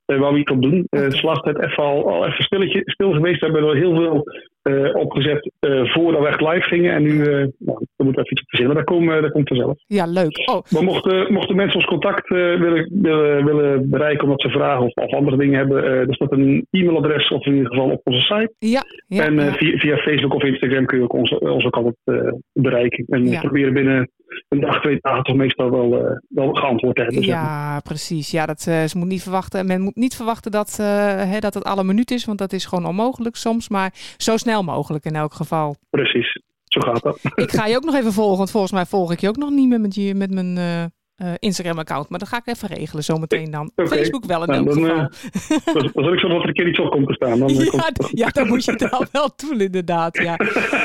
[SPEAKER 7] eh, waar we iets op doen. Eh
[SPEAKER 3] Oké.
[SPEAKER 7] Het is het even al, al even stilletje, stil geweest. We hebben er heel veel eh, opgezet eh, voordat we echt live gingen. En nu eh nou, we moeten even iets verzinnen. Daar, komen, eh, daar komt vanzelf.
[SPEAKER 3] Ja, leuk. Oh,
[SPEAKER 7] Maar mochten, mochten mensen ons contact eh, willen, willen, willen bereiken omdat ze vragen of, of andere dingen hebben, eh er staat een e-mailadres of in ieder geval op onze site.
[SPEAKER 3] ja. ja,
[SPEAKER 7] en eh,
[SPEAKER 3] ja.
[SPEAKER 7] via, via Facebook of Instagram kun je ook ons, ons ook altijd eh, bereiken. En
[SPEAKER 3] Ja.
[SPEAKER 7] we proberen binnen een dag, twee dagen toch meestal wel, eh, wel geantwoord hebben. zeg maar.
[SPEAKER 3] Ja, precies. Ja, dat, eh, ze moet niet verwachten. Men moet niet verwachten dat, eh, hè, dat het alle minuut is, want dat is gewoon onmogelijk soms. Maar zo snel mogelijk in elk geval.
[SPEAKER 7] Precies, zo gaat dat.
[SPEAKER 3] Ik ga je ook nog even volgen, want volgens mij volg ik je ook nog niet meer met, je, met mijn eh, eh, Instagram-account. Maar dat ga ik even regelen zometeen dan.
[SPEAKER 7] Oké.
[SPEAKER 3] Facebook wel in
[SPEAKER 7] Nou,
[SPEAKER 3] elk
[SPEAKER 7] dan,
[SPEAKER 3] geval.
[SPEAKER 7] eh, dan, dan zal ik zo dat er een keer iets op komt te staan. Dan, eh, komt
[SPEAKER 3] Ja,
[SPEAKER 7] het
[SPEAKER 3] d- ja, dat moet je dan wel doen, inderdaad. Ja.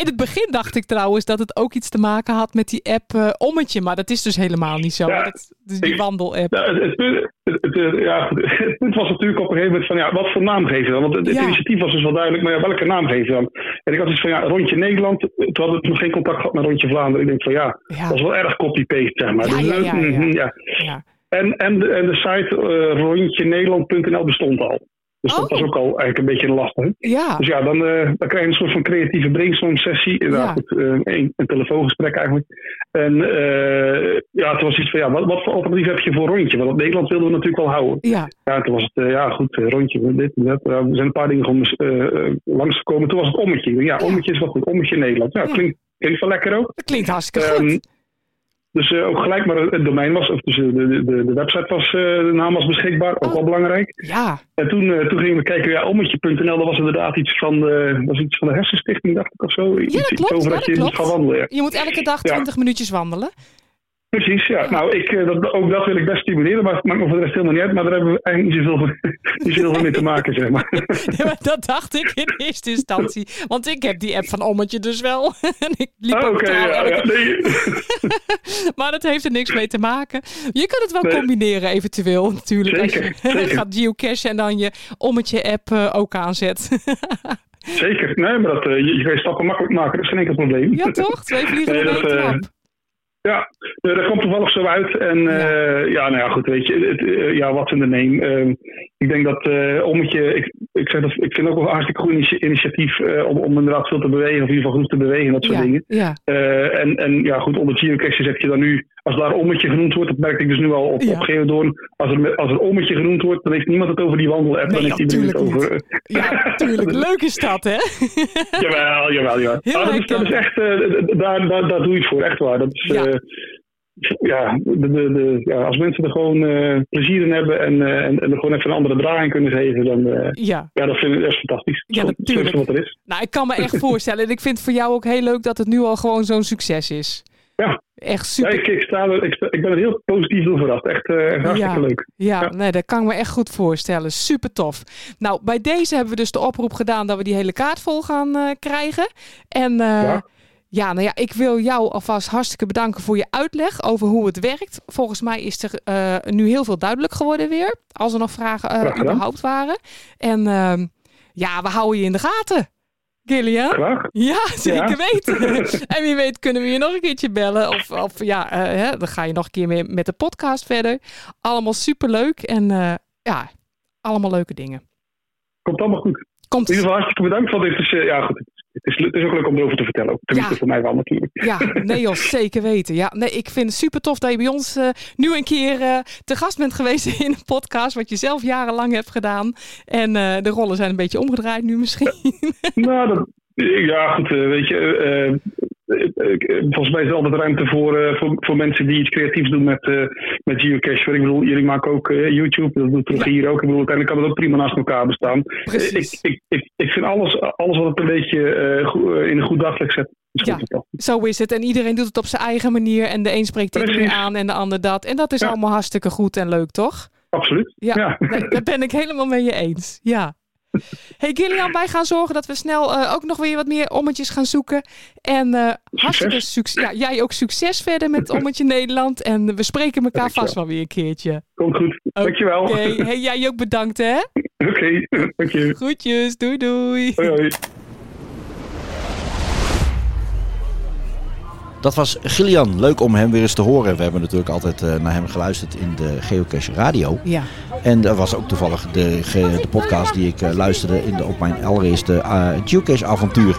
[SPEAKER 3] In het begin dacht ik trouwens dat het ook iets te maken had met die app eh, Ommetje, maar dat is dus helemaal niet zo.
[SPEAKER 7] Ja,
[SPEAKER 3] Dat, dus die
[SPEAKER 7] ik-
[SPEAKER 3] wandel-app.
[SPEAKER 7] Nou, het, het punt- het- het, eh, ja, het punt was natuurlijk op een gegeven moment van ja, wat voor naam geven we dan? Want het, het
[SPEAKER 3] Ja.
[SPEAKER 7] initiatief was dus wel duidelijk, maar ja, welke naam geven we dan? En ik had dus van ja, Rondje Nederland, eh, toen hadden we nog geen contact gehad met Rondje Vlaanderen. Ik denk van ja,
[SPEAKER 3] Ja,
[SPEAKER 7] dat is wel erg copy-paste zeg maar.
[SPEAKER 3] Ja,
[SPEAKER 7] Dus,
[SPEAKER 3] ja,
[SPEAKER 7] eh,
[SPEAKER 3] ja, ja.
[SPEAKER 7] mhm, ja.
[SPEAKER 3] ja.
[SPEAKER 7] En, en, de- en de site eh, rondjenederland.nl bestond al. Dus dat
[SPEAKER 3] Oh.
[SPEAKER 7] was ook al eigenlijk een beetje lastig.
[SPEAKER 3] ja.
[SPEAKER 7] Dus ja, dan, eh, dan krijg je een soort van creatieve brainstorm sessie.
[SPEAKER 3] Ja.
[SPEAKER 7] Ja. Goed, eh, een, een telefoongesprek eigenlijk. En eh, ja, toen was iets van ja, wat, wat voor alternatief heb je voor rondje? Want op Nederland wilden we natuurlijk wel houden.
[SPEAKER 3] Ja,
[SPEAKER 7] Ja, toen was het eh, ja goed, eh, rondje, dit en dat. Ja, er zijn een paar dingen gewoon eh, eh, langsgekomen. Toen was het ommetje. Ik denk, Ja,
[SPEAKER 3] Ja.
[SPEAKER 7] ommetje is wel goed, ommetje in Nederland. Ja,
[SPEAKER 3] Ja.
[SPEAKER 7] Klinkt, klinkt wel lekker ook.
[SPEAKER 3] dat klinkt hartstikke
[SPEAKER 7] Ehm,
[SPEAKER 3] goed.
[SPEAKER 7] Dus eh, ook gelijk maar het domein was, of dus eh, de, de, de website was, eh, de naam was beschikbaar, ook
[SPEAKER 3] Oh.
[SPEAKER 7] wel belangrijk.
[SPEAKER 3] Ja,
[SPEAKER 7] En toen, eh, toen gingen we kijken, ja, ommetje.nl, dat was inderdaad iets van, de, was iets van de hersenstichting, dacht ik of zo. iets,
[SPEAKER 3] dat
[SPEAKER 7] iets
[SPEAKER 3] klopt,
[SPEAKER 7] over
[SPEAKER 3] ja,
[SPEAKER 7] dat
[SPEAKER 3] dat
[SPEAKER 7] je moet
[SPEAKER 3] klopt.
[SPEAKER 7] gaan wandelen. ja.
[SPEAKER 3] je moet elke dag
[SPEAKER 7] Ja.
[SPEAKER 3] 20 minuutjes wandelen.
[SPEAKER 7] Precies, ja. Nou, ik, eh, dat, ook dat wil ik best stimuleren, maar het maakt me voor de rest helemaal niet uit. Maar daar hebben we eigenlijk niet zoveel, niet zoveel mee te maken, zeg maar.
[SPEAKER 3] Ja, maar dat dacht ik in eerste instantie. Want ik heb die app van Ommetje dus wel. En ik liep
[SPEAKER 7] Ah,
[SPEAKER 3] ook
[SPEAKER 7] Oké,
[SPEAKER 3] trouw
[SPEAKER 7] ja,
[SPEAKER 3] elke
[SPEAKER 7] ja, nee.
[SPEAKER 3] Maar dat heeft er niks mee te maken. Je kunt het wel
[SPEAKER 7] Nee.
[SPEAKER 3] combineren eventueel natuurlijk.
[SPEAKER 7] Zeker,
[SPEAKER 3] als je
[SPEAKER 7] zeker.
[SPEAKER 3] gaat geocachen en dan je ommetje app eh, ook aanzet.
[SPEAKER 7] Zeker. Nee, maar dat, eh, je, je kan je stappen makkelijk maken, dat is geen enkel probleem.
[SPEAKER 3] ja toch? Twee vliegen
[SPEAKER 7] Nee,
[SPEAKER 3] in één
[SPEAKER 7] dat, eh,
[SPEAKER 3] klap.
[SPEAKER 7] Ja, eh, dat kwam toevallig zo uit. En eh, ja, nou ja, goed, weet je, het, eh, ja, wat in de neem. Ehm, ik denk dat eh ommetje, ik, ik, zeg dat, ik vind ook wel een hartstikke goed initi- initiatief eh, om, om inderdaad veel te bewegen, of in ieder geval goed te bewegen, en dat soort
[SPEAKER 3] ja,
[SPEAKER 7] dingen.
[SPEAKER 3] ja,
[SPEAKER 7] Eh, en, en ja, goed, onder geocaching heb je dan nu, als daar ommetje genoemd wordt, dat merk ik dus nu al op,
[SPEAKER 3] Ja.
[SPEAKER 7] op Geodoorn. Als er, met- als er ommetje genoemd wordt, dan heeft niemand het over die wandel-app,
[SPEAKER 3] Nee,
[SPEAKER 7] dan heeft iedereen het
[SPEAKER 3] natuurlijk
[SPEAKER 7] over. eh,
[SPEAKER 3] ja, tuurlijk. Leuk is dat, hè?
[SPEAKER 7] Jawel, jawel, jawel.
[SPEAKER 3] Heel
[SPEAKER 7] Ah, dat, is, dat is echt, eh, d- d- daar, daar, daar doe je het voor, echt waar. Dat is,
[SPEAKER 3] Ja.
[SPEAKER 7] ja. ja, de, de, de, ja, als mensen er gewoon eh, plezier in hebben en, eh, en, en er gewoon even een andere draai aan kunnen geven, dan eh,
[SPEAKER 3] Ja.
[SPEAKER 7] ja, dat vind ik echt fantastisch.
[SPEAKER 3] Ja,
[SPEAKER 7] Zo-
[SPEAKER 3] natuurlijk.
[SPEAKER 7] zo is het wat er is.
[SPEAKER 3] Nou, ik kan me echt voorstellen. En ik vind het voor jou ook heel leuk dat het nu al gewoon zo'n succes is.
[SPEAKER 7] Ja.
[SPEAKER 3] Echt
[SPEAKER 7] Ja,
[SPEAKER 3] super.
[SPEAKER 7] ik, ik, sta er, ik, sta- ik ben er heel positief door verrast. Echt eh, echt hartstikke
[SPEAKER 3] Ja.
[SPEAKER 7] leuk.
[SPEAKER 3] Ja,
[SPEAKER 7] Ja.
[SPEAKER 3] nee, dat kan ik me echt goed voorstellen. Super tof. Nou, bij deze hebben we dus de oproep gedaan dat we die hele kaart vol gaan eh, krijgen. En eh, ja.
[SPEAKER 7] Ja.
[SPEAKER 3] nou ja, ik wil jou alvast hartstikke bedanken voor je uitleg over hoe het werkt. Volgens mij is er eh, nu heel veel duidelijk geworden weer. Als er nog vragen eh,
[SPEAKER 7] Graag gedaan.
[SPEAKER 3] überhaupt waren. En ehm, ja, we houden je in de gaten. Gillian?
[SPEAKER 7] Graag.
[SPEAKER 3] Ja, zeker weten. en wie weet kunnen we je nog een keertje bellen. Of, of ja, eh, hè, dan ga je nog een keer mee met de podcast verder. Allemaal superleuk. En eh, ja, allemaal leuke dingen.
[SPEAKER 7] Komt allemaal goed.
[SPEAKER 3] Komt
[SPEAKER 7] In ieder geval hartstikke bedankt, want dit is, eh, ja, goed, het, is, het is ook leuk om erover te vertellen. ook. Tenminste,
[SPEAKER 3] Ja.
[SPEAKER 7] voor mij wel natuurlijk.
[SPEAKER 3] Ja, nee Jos, zeker weten. Ja, nee, ik vind het super tof dat je bij ons eh, nu een keer eh, te gast bent geweest in een podcast. Wat je zelf jarenlang hebt gedaan. En eh, de rollen zijn een beetje omgedraaid nu misschien.
[SPEAKER 7] Nou, dat, ja, goed, eh, weet je. eh, eh, ik- eh, volgens mij is er altijd ruimte voor, eh, voor, voor mensen die iets creatiefs doen met, eh met geocache. Ik bedoel, jullie maken ook eh, YouTube, dat doet Rogier hier ook. Ik bedoel, uiteindelijk kan het ook prima naast elkaar bestaan. Eh, Ik,
[SPEAKER 3] Precies.
[SPEAKER 7] ik, ik, ik vind alles, alles wat het een beetje eh, goe- eh, in een goed daglicht zet, is
[SPEAKER 3] Ja.
[SPEAKER 7] goed. toch?
[SPEAKER 3] Zo is het. En iedereen doet het op zijn eigen manier. En de een spreekt dit weer
[SPEAKER 7] Precies.
[SPEAKER 3] aan en de ander dat. En dat is
[SPEAKER 7] Ja.
[SPEAKER 3] allemaal hartstikke goed en leuk, toch?
[SPEAKER 7] Absoluut.
[SPEAKER 3] Ja.
[SPEAKER 7] ja.
[SPEAKER 3] Nee, daar ben ik helemaal mee je eens. Ja. Hey Gillian, wij gaan zorgen dat we snel eh, ook nog weer wat meer ommetjes gaan zoeken. En eh hartstikke succes. Ja, jij ook succes verder met Ommetje Nederland. En we spreken elkaar
[SPEAKER 7] Dankjewel.
[SPEAKER 3] vast wel weer een keertje.
[SPEAKER 7] Komt goed. Dankjewel.
[SPEAKER 3] Oké,
[SPEAKER 7] Oké,
[SPEAKER 3] hey, jij ook bedankt hè.
[SPEAKER 7] dank je.
[SPEAKER 3] Groetjes, doei doei.
[SPEAKER 7] Hoi, hoi.
[SPEAKER 1] Dat was Gillian. Leuk om hem weer eens te horen. We hebben natuurlijk altijd eh, naar hem geluisterd in de Geocache Radio.
[SPEAKER 3] Ja,
[SPEAKER 1] En dat was ook toevallig de, ge- de podcast die ik eh, luisterde in de, op mijn allereerste eh, Geocache-avontuur.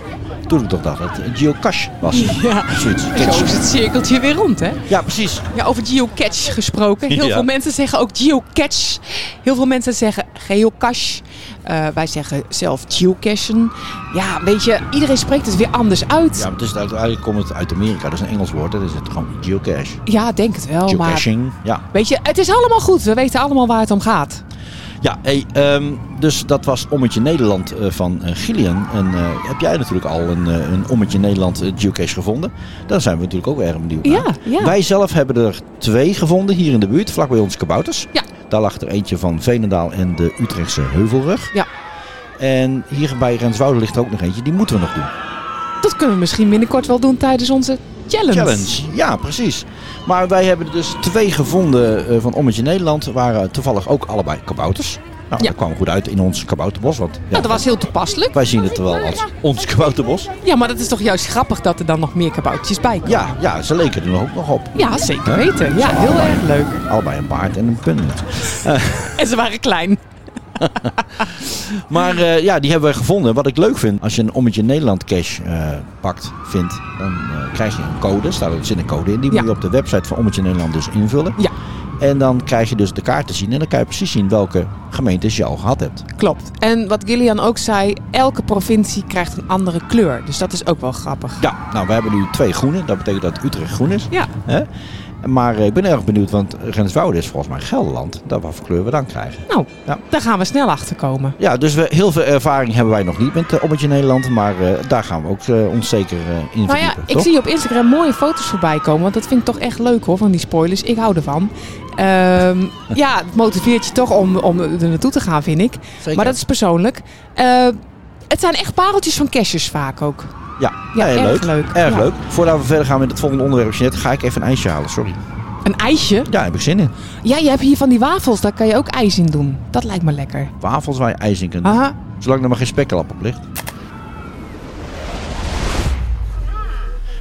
[SPEAKER 1] Toen ik toch dacht dat het Geocache was.
[SPEAKER 3] ja.
[SPEAKER 1] Zoiets.
[SPEAKER 3] Zo
[SPEAKER 1] Cache.
[SPEAKER 3] is het cirkeltje weer rond hè.
[SPEAKER 1] Ja, precies.
[SPEAKER 3] Ja, over geocache gesproken. Heel
[SPEAKER 2] Ja.
[SPEAKER 3] veel mensen zeggen ook geocache. Heel veel mensen zeggen geocache. Eh, wij zeggen zelf geocachen. Ja, weet je, iedereen spreekt het weer anders uit.
[SPEAKER 1] Ja,
[SPEAKER 3] Ja,
[SPEAKER 1] maar het is, eigenlijk komt het uit Amerika. Dat is een Engels woord. Dat is het gewoon geocache.
[SPEAKER 3] denk het wel. Maar
[SPEAKER 1] Geocaching. Ja.
[SPEAKER 3] weet je, het is allemaal goed. We weten allemaal waar het om gaat.
[SPEAKER 1] Ja, hey, ehm, dus dat was Ommetje Nederland eh, van eh, Gillian. En eh, heb jij natuurlijk al een, eh, een Ommetje Nederland eh, geocache gevonden? Daar zijn we natuurlijk ook erg benieuwd naar.
[SPEAKER 3] Ja, ja.
[SPEAKER 1] Wij zelf hebben er twee gevonden hier in de buurt, vlak bij ons Kabouters.
[SPEAKER 3] Ja.
[SPEAKER 1] Daar lag er eentje van Veenendaal en de Utrechtse Heuvelrug.
[SPEAKER 3] Ja.
[SPEAKER 1] En hier bij Renswoude ligt er ook nog eentje, die moeten we nog doen.
[SPEAKER 3] Dat kunnen we misschien binnenkort wel doen tijdens onze challenge.
[SPEAKER 1] Challenge, ja precies. Maar wij hebben er dus twee gevonden eh, van Ommetje Nederland. Waren toevallig ook allebei kabouters. Nou,
[SPEAKER 3] Ja.
[SPEAKER 1] dat kwam goed uit in ons kabouterbos. Want, ja,
[SPEAKER 3] Nou, dat was heel toepasselijk.
[SPEAKER 1] Wij zien het wel als ons kabouterbos.
[SPEAKER 3] Ja, maar dat is toch juist grappig dat er dan nog meer kaboutertjes bij komen.
[SPEAKER 1] Ja, ja, ze leken er ook nog op.
[SPEAKER 3] Ja, zeker
[SPEAKER 1] Hè?
[SPEAKER 3] weten. Ja, heel erg leuk.
[SPEAKER 1] Allebei een paard en een punt.
[SPEAKER 3] En ze waren klein.
[SPEAKER 1] Maar eh, ja, die hebben we gevonden. Wat ik leuk vind, als je een Ommetje Nederland cash eh, pakt, vindt, dan eh, krijg je een code. Staat er zit een code in. Die
[SPEAKER 3] Ja.
[SPEAKER 1] moet je op de website van Ommetje Nederland dus invullen.
[SPEAKER 3] Ja.
[SPEAKER 1] En dan krijg je dus de kaart te zien. En dan kan je precies zien welke gemeentes je al gehad hebt.
[SPEAKER 3] Klopt. En wat Gillian ook zei, elke provincie krijgt een andere kleur. Dus dat is ook wel grappig.
[SPEAKER 1] Ja, nou, we hebben nu twee groene. Dat betekent dat Utrecht groen is.
[SPEAKER 3] Ja.
[SPEAKER 1] Hè? Maar eh, ik ben erg benieuwd, want Renswoude is volgens mij Gelderland. Dat wat voor kleur we dan krijgen.
[SPEAKER 3] Nou,
[SPEAKER 1] Ja.
[SPEAKER 3] daar gaan we snel achter komen.
[SPEAKER 1] Ja, dus we, heel veel ervaring hebben wij nog niet met eh, Ommetje Nederland. Maar eh, daar gaan we ook eh, ons zeker eh, in
[SPEAKER 3] Nou ja,
[SPEAKER 1] verdiepen,
[SPEAKER 3] ik
[SPEAKER 1] toch?
[SPEAKER 3] zie op Instagram mooie foto's voorbij komen. Want dat vind ik toch echt leuk hoor, van die spoilers. Ik hou ervan. Ehm, ja, het motiveert je toch om, om er naartoe te gaan, vind ik.
[SPEAKER 1] Zeker.
[SPEAKER 3] Maar dat is persoonlijk. Eh, het zijn echt pareltjes van cashers vaak ook.
[SPEAKER 1] Ja,
[SPEAKER 3] Ja,
[SPEAKER 1] heel
[SPEAKER 3] erg
[SPEAKER 1] leuk.
[SPEAKER 3] leuk.
[SPEAKER 1] Erg
[SPEAKER 3] Ja.
[SPEAKER 1] leuk. Voordat we verder gaan met het volgende onderwerp, Jeanette, ga ik even een ijsje halen. Sorry.
[SPEAKER 3] Een ijsje.
[SPEAKER 1] Ja, heb ik zin in.
[SPEAKER 3] Ja, je hebt hier van die wafels. Daar kan je ook ijs in doen. Dat lijkt me lekker.
[SPEAKER 1] Wafels waar je ijs in kunt doen.
[SPEAKER 3] Aha.
[SPEAKER 1] Zolang er maar geen spekkelap op ligt.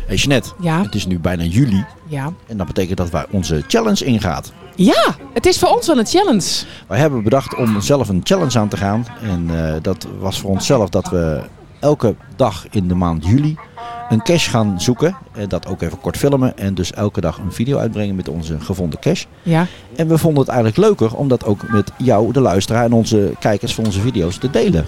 [SPEAKER 1] Hey Jeanette,
[SPEAKER 3] Ja.
[SPEAKER 1] het is nu bijna juli.
[SPEAKER 3] Ja.
[SPEAKER 1] En dat betekent dat wij onze challenge ingaat.
[SPEAKER 3] Ja, het is voor ons wel een challenge.
[SPEAKER 1] Wij hebben bedacht om zelf een challenge aan te gaan. En eh, dat was voor onszelf dat we elke dag in de maand juli een cache gaan zoeken. En dat ook even kort filmen. En dus elke dag een video uitbrengen met onze gevonden cache.
[SPEAKER 3] Ja.
[SPEAKER 1] En we vonden het eigenlijk leuker om dat ook met jou, de luisteraar en onze kijkers van onze video's te delen.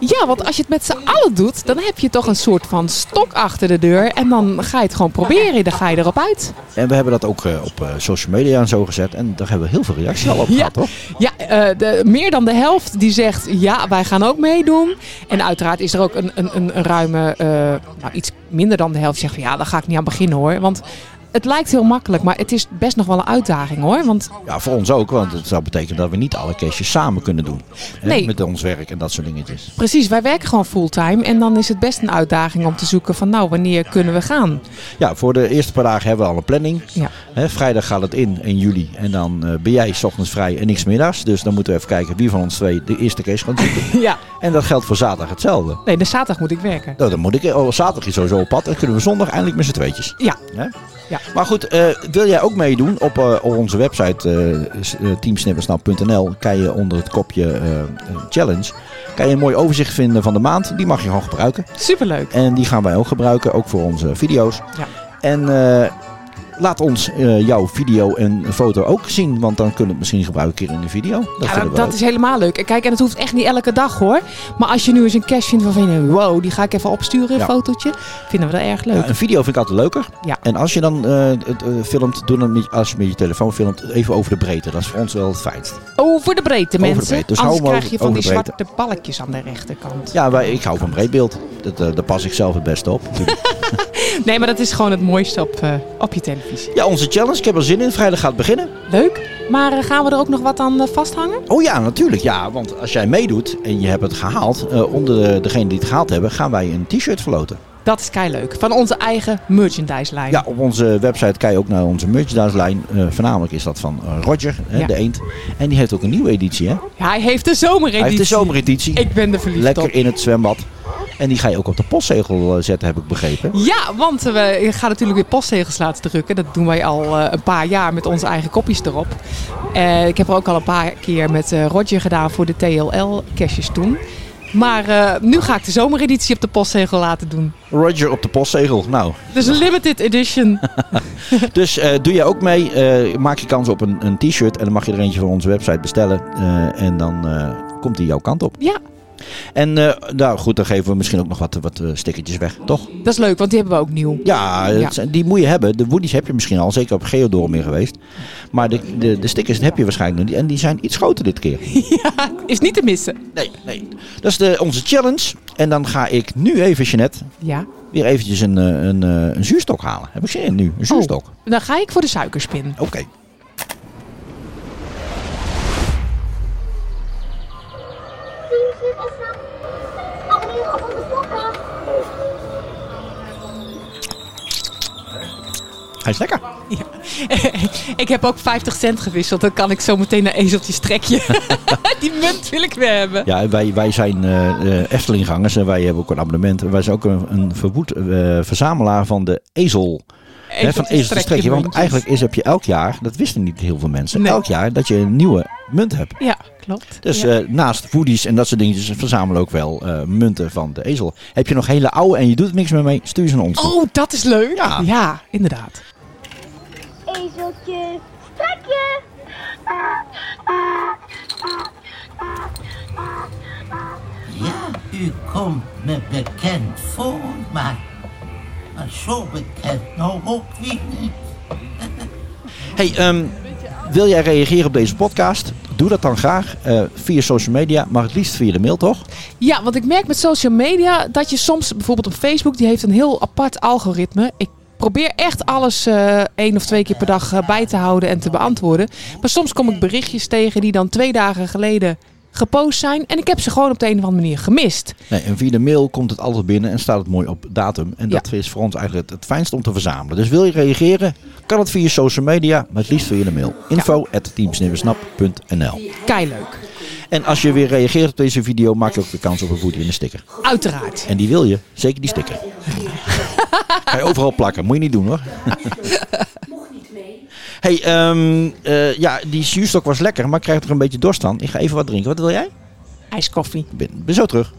[SPEAKER 3] Ja, want als je het met z'n allen doet, dan heb je toch een soort van stok achter de deur. En dan ga je het gewoon proberen. Dan ga je erop uit.
[SPEAKER 1] En we hebben dat ook eh, op eh, social media en zo gezet. En daar hebben we heel veel reacties al op
[SPEAKER 3] Ja.
[SPEAKER 1] gehad, toch?
[SPEAKER 3] Ja, eh, de, meer dan de helft die zegt ja, wij gaan ook meedoen. En uiteraard is er ook een, een, een, een ruime, eh, nou, iets minder dan de helft die zegt van ja, daar ga ik niet aan beginnen hoor. Want het lijkt heel makkelijk, maar het is best nog wel een uitdaging hoor. Want
[SPEAKER 1] Ja, voor ons ook, want het zou betekenen dat we niet alle caches samen kunnen doen. Hè,
[SPEAKER 3] Nee.
[SPEAKER 1] Met ons werk en dat soort dingetjes.
[SPEAKER 3] precies, wij werken gewoon fulltime. En dan is het best een uitdaging om te zoeken van nou, wanneer kunnen we gaan?
[SPEAKER 1] Ja, voor de eerste paar dagen hebben we al een planning.
[SPEAKER 3] Ja.
[SPEAKER 1] Hè, vrijdag gaat het in, in juli. En dan eh, ben jij s ochtends vrij en niks middags. Dus dan moeten we even kijken wie van ons twee de eerste cache gaat zoeken.
[SPEAKER 3] ja.
[SPEAKER 1] en dat geldt voor zaterdag hetzelfde.
[SPEAKER 3] Nee, de zaterdag moet ik werken.
[SPEAKER 1] Nou, dan moet ik. Oh, zaterdag is sowieso op pad. Dan kunnen we zondag eindelijk met z'n tweetjes.
[SPEAKER 3] Ja.
[SPEAKER 1] Hè?
[SPEAKER 3] Ja.
[SPEAKER 1] Maar goed, eh, wil jij ook meedoen op, eh, op onze website eh, s- eh, teamsnippersnap.nl kan je onder het kopje eh, eh, challenge kan je een mooi overzicht vinden van de maand. Die mag je gewoon gebruiken.
[SPEAKER 3] Superleuk.
[SPEAKER 1] En die gaan wij ook gebruiken, ook voor onze video's.
[SPEAKER 3] Ja.
[SPEAKER 1] En eh, laat ons eh, jouw video en foto ook zien, want dan kunnen we het misschien gebruiken hier in de video. Dat
[SPEAKER 3] ja,
[SPEAKER 1] vinden
[SPEAKER 3] dat,
[SPEAKER 1] we
[SPEAKER 3] dat
[SPEAKER 1] leuk.
[SPEAKER 3] is helemaal leuk. En Kijk, en het hoeft echt niet elke dag hoor. Maar als je nu eens een cash vindt waarvan je denkt, wow, die ga ik even opsturen, een
[SPEAKER 1] Ja.
[SPEAKER 3] fotootje. Vinden we dat erg leuk.
[SPEAKER 1] Ja, een video vind ik altijd leuker.
[SPEAKER 3] Ja.
[SPEAKER 1] En als je dan eh, het eh, filmt, doe dan niet als je met je telefoon filmt, even over de breedte. Dat is voor ons wel het fijnst.
[SPEAKER 3] Over de breedte,
[SPEAKER 1] de
[SPEAKER 3] mensen.
[SPEAKER 1] breedte. Dus hou
[SPEAKER 3] Anders
[SPEAKER 1] hem
[SPEAKER 3] krijg
[SPEAKER 1] over-
[SPEAKER 3] je van
[SPEAKER 1] over
[SPEAKER 3] die
[SPEAKER 1] de breedte.
[SPEAKER 3] zwarte balkjes aan de rechterkant.
[SPEAKER 1] Ja, wij, ik hou van breed beeld. Dat, eh, daar pas ik zelf het beste op.
[SPEAKER 3] Nee, maar dat is gewoon het mooiste op, eh, op je televisie.
[SPEAKER 1] ja, onze challenge. Ik heb er zin in. Vrijdag gaat het beginnen.
[SPEAKER 3] Leuk. Maar eh, gaan we er ook nog wat aan eh, vasthangen?
[SPEAKER 1] Oh ja, natuurlijk. Ja, want als jij meedoet en je hebt het gehaald, eh, onder de- degene die het gehaald hebben, gaan wij een t-shirt verloten.
[SPEAKER 3] Dat is kei leuk. Van onze eigen merchandise lijn.
[SPEAKER 1] Ja, op onze website kan je ook naar onze merchandise-lijn. Eh, voornamelijk is dat van eh, Roger, hè,
[SPEAKER 3] Ja.
[SPEAKER 1] de eend. En die heeft ook een nieuwe editie, hè?
[SPEAKER 3] Ja, hij heeft de zomereditie.
[SPEAKER 1] Hij heeft de zomereditie.
[SPEAKER 3] Ik ben er verliefd op.
[SPEAKER 1] Lekker in het zwembad. En die ga je ook op de postzegel eh, zetten, heb ik begrepen.
[SPEAKER 3] Ja, want eh, we gaan natuurlijk weer postzegels laten drukken. Dat doen wij al eh, een paar jaar met onze eigen kopjes erop. Eh, ik heb er ook al een paar keer met eh, Roger gedaan voor de TLL-caches toen. Maar eh, nu ga ik de zomereditie op de postzegel laten doen.
[SPEAKER 1] Roger op de postzegel. Nou,
[SPEAKER 3] Dus een limited edition.
[SPEAKER 1] dus eh, doe jij ook mee. eh, maak je kans op een, een t-shirt. En dan mag je er eentje van onze website bestellen. eh, en dan eh, komt die jouw kant op.
[SPEAKER 3] Ja.
[SPEAKER 1] En eh, nou goed, dan geven we misschien ook nog wat, wat eh, stickertjes weg, toch?
[SPEAKER 3] Dat is leuk, want die hebben we ook nieuw.
[SPEAKER 1] Ja, eh, het
[SPEAKER 3] Ja.
[SPEAKER 1] zijn- die moet je hebben. De woodies heb je misschien al, zeker op Geodorm meer geweest. Maar de, de, de stickers heb je waarschijnlijk nog niet. En die zijn iets groter dit keer.
[SPEAKER 3] Is niet te missen.
[SPEAKER 1] Nee, nee. Dat is de, onze challenge. En dan ga ik nu even, Jeanette,
[SPEAKER 3] Ja.
[SPEAKER 1] weer eventjes een, eh, een, eh, een zuurstok halen. Heb ik zin in nu? Een zuurstok.
[SPEAKER 3] Dan ga ik voor de suikerspin.
[SPEAKER 1] Oké. Hij is lekker.
[SPEAKER 3] ik heb ook 50 cent gewisseld. Dan kan ik zo meteen naar ezeltjes trekje. die munt wil ik weer hebben.
[SPEAKER 1] Ja, en wij, wij zijn eh, eh, Eftelinggangers en wij hebben ook een abonnement. En Wij zijn ook een, een verwoed, eh, verzamelaar van de ezel. Hè, van ezel te strekken. Want
[SPEAKER 3] muntjes.
[SPEAKER 1] eigenlijk is, heb je elk jaar, dat wisten niet heel veel mensen,
[SPEAKER 3] Nee.
[SPEAKER 1] elk jaar dat je een nieuwe munt hebt.
[SPEAKER 3] Ja, klopt.
[SPEAKER 1] Dus
[SPEAKER 3] Ja.
[SPEAKER 1] eh, naast woodies en dat soort dingetjes verzamelen ook wel eh, munten van de ezel. Heb je nog hele oude en je doet er niks meer mee, stuur ze naar ons. toe.
[SPEAKER 3] Oh, dat is leuk.
[SPEAKER 1] Ja.
[SPEAKER 3] ja inderdaad.
[SPEAKER 8] Ezeltje, strek je!
[SPEAKER 9] Ja, u komt me bekend voor, maar, maar zo bekend nou ook weer niet.
[SPEAKER 1] Hey, ehm, wil jij reageren op deze podcast? Doe dat dan graag eh, via social media, maar het liefst via de mail toch?
[SPEAKER 3] Ja, want ik merk met social media dat je soms bijvoorbeeld op Facebook, die heeft een heel apart algoritme. Ik probeer echt alles eh, één of twee keer per dag eh, bij te houden en te beantwoorden. Maar soms kom ik berichtjes tegen die dan twee dagen geleden gepost zijn. En ik heb ze gewoon op de een of andere manier gemist.
[SPEAKER 1] Nee, en via de mail komt het altijd binnen en staat het mooi op datum. En dat is voor ons eigenlijk het, het fijnste om te verzamelen. Dus wil je reageren, kan het via social media, maar het liefst via de mail. Info at teamsnippersnap.nl
[SPEAKER 3] Keileuk.
[SPEAKER 1] En als je weer reageert op deze video, maak je ook de kans op een voetje in een sticker.
[SPEAKER 3] Uiteraard.
[SPEAKER 1] En die wil je, zeker die sticker. Ga je overal plakken, moet je niet doen hoor. hey, ehm, eh, ja, die zuurstok was lekker, maar ik krijg er een beetje dorst aan. Ik ga even wat drinken. Wat wil jij?
[SPEAKER 3] IJskoffie.
[SPEAKER 1] Ik ben, ben zo terug.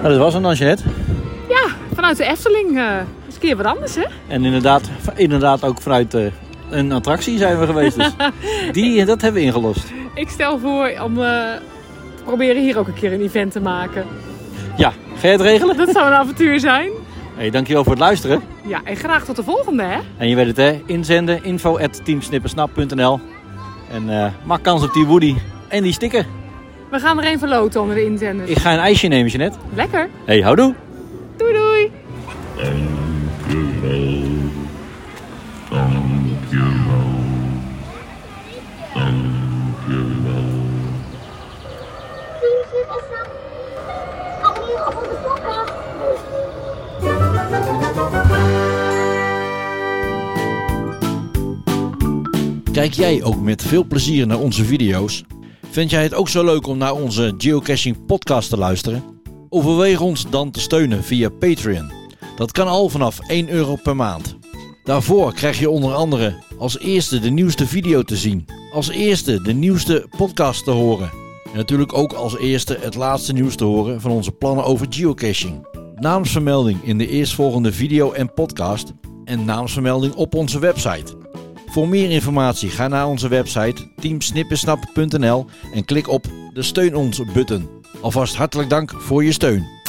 [SPEAKER 2] Nou, dat was hem dan, Jeanette.
[SPEAKER 6] Ja, vanuit de Efteling eh, is een keer wat anders, hè?
[SPEAKER 2] En inderdaad, inderdaad ook vanuit eh, een attractie zijn we geweest. Dus die, dat hebben we ingelost.
[SPEAKER 6] Ik stel voor om eh, te proberen hier ook een keer een event te maken.
[SPEAKER 2] Ja, ga je het regelen?
[SPEAKER 6] Dat zou een avontuur zijn.
[SPEAKER 2] Hey, dankjewel voor het luisteren.
[SPEAKER 6] Ja, en graag tot de volgende, hè?
[SPEAKER 2] En je weet het hè, inzenden info at teamsnippersnap.nl En eh, maak kans op die Woody en die sticker.
[SPEAKER 6] We gaan er een verloten onder de inzenders.
[SPEAKER 2] Ik ga een ijsje nemen, Jeanette.
[SPEAKER 6] Lekker.
[SPEAKER 2] Hey, houdoe!
[SPEAKER 6] Doei doei.
[SPEAKER 8] Abonneer op onze podcast.
[SPEAKER 1] Kijk jij ook met veel plezier naar onze video's? Vind jij het ook zo leuk om naar onze geocaching podcast te luisteren? Overweeg ons dan te steunen via Patreon. Dat kan al vanaf 1 euro per maand. Daarvoor krijg je onder andere als eerste de nieuwste video te zien, als eerste de nieuwste podcast te horen en natuurlijk ook als eerste het laatste nieuws te horen van onze plannen over geocaching. Naamsvermelding in de eerstvolgende video en podcast en naamsvermelding op onze website. Voor meer informatie ga naar onze website teamsnippensnap.nl en klik op de Steun ons button. Alvast hartelijk dank voor je steun.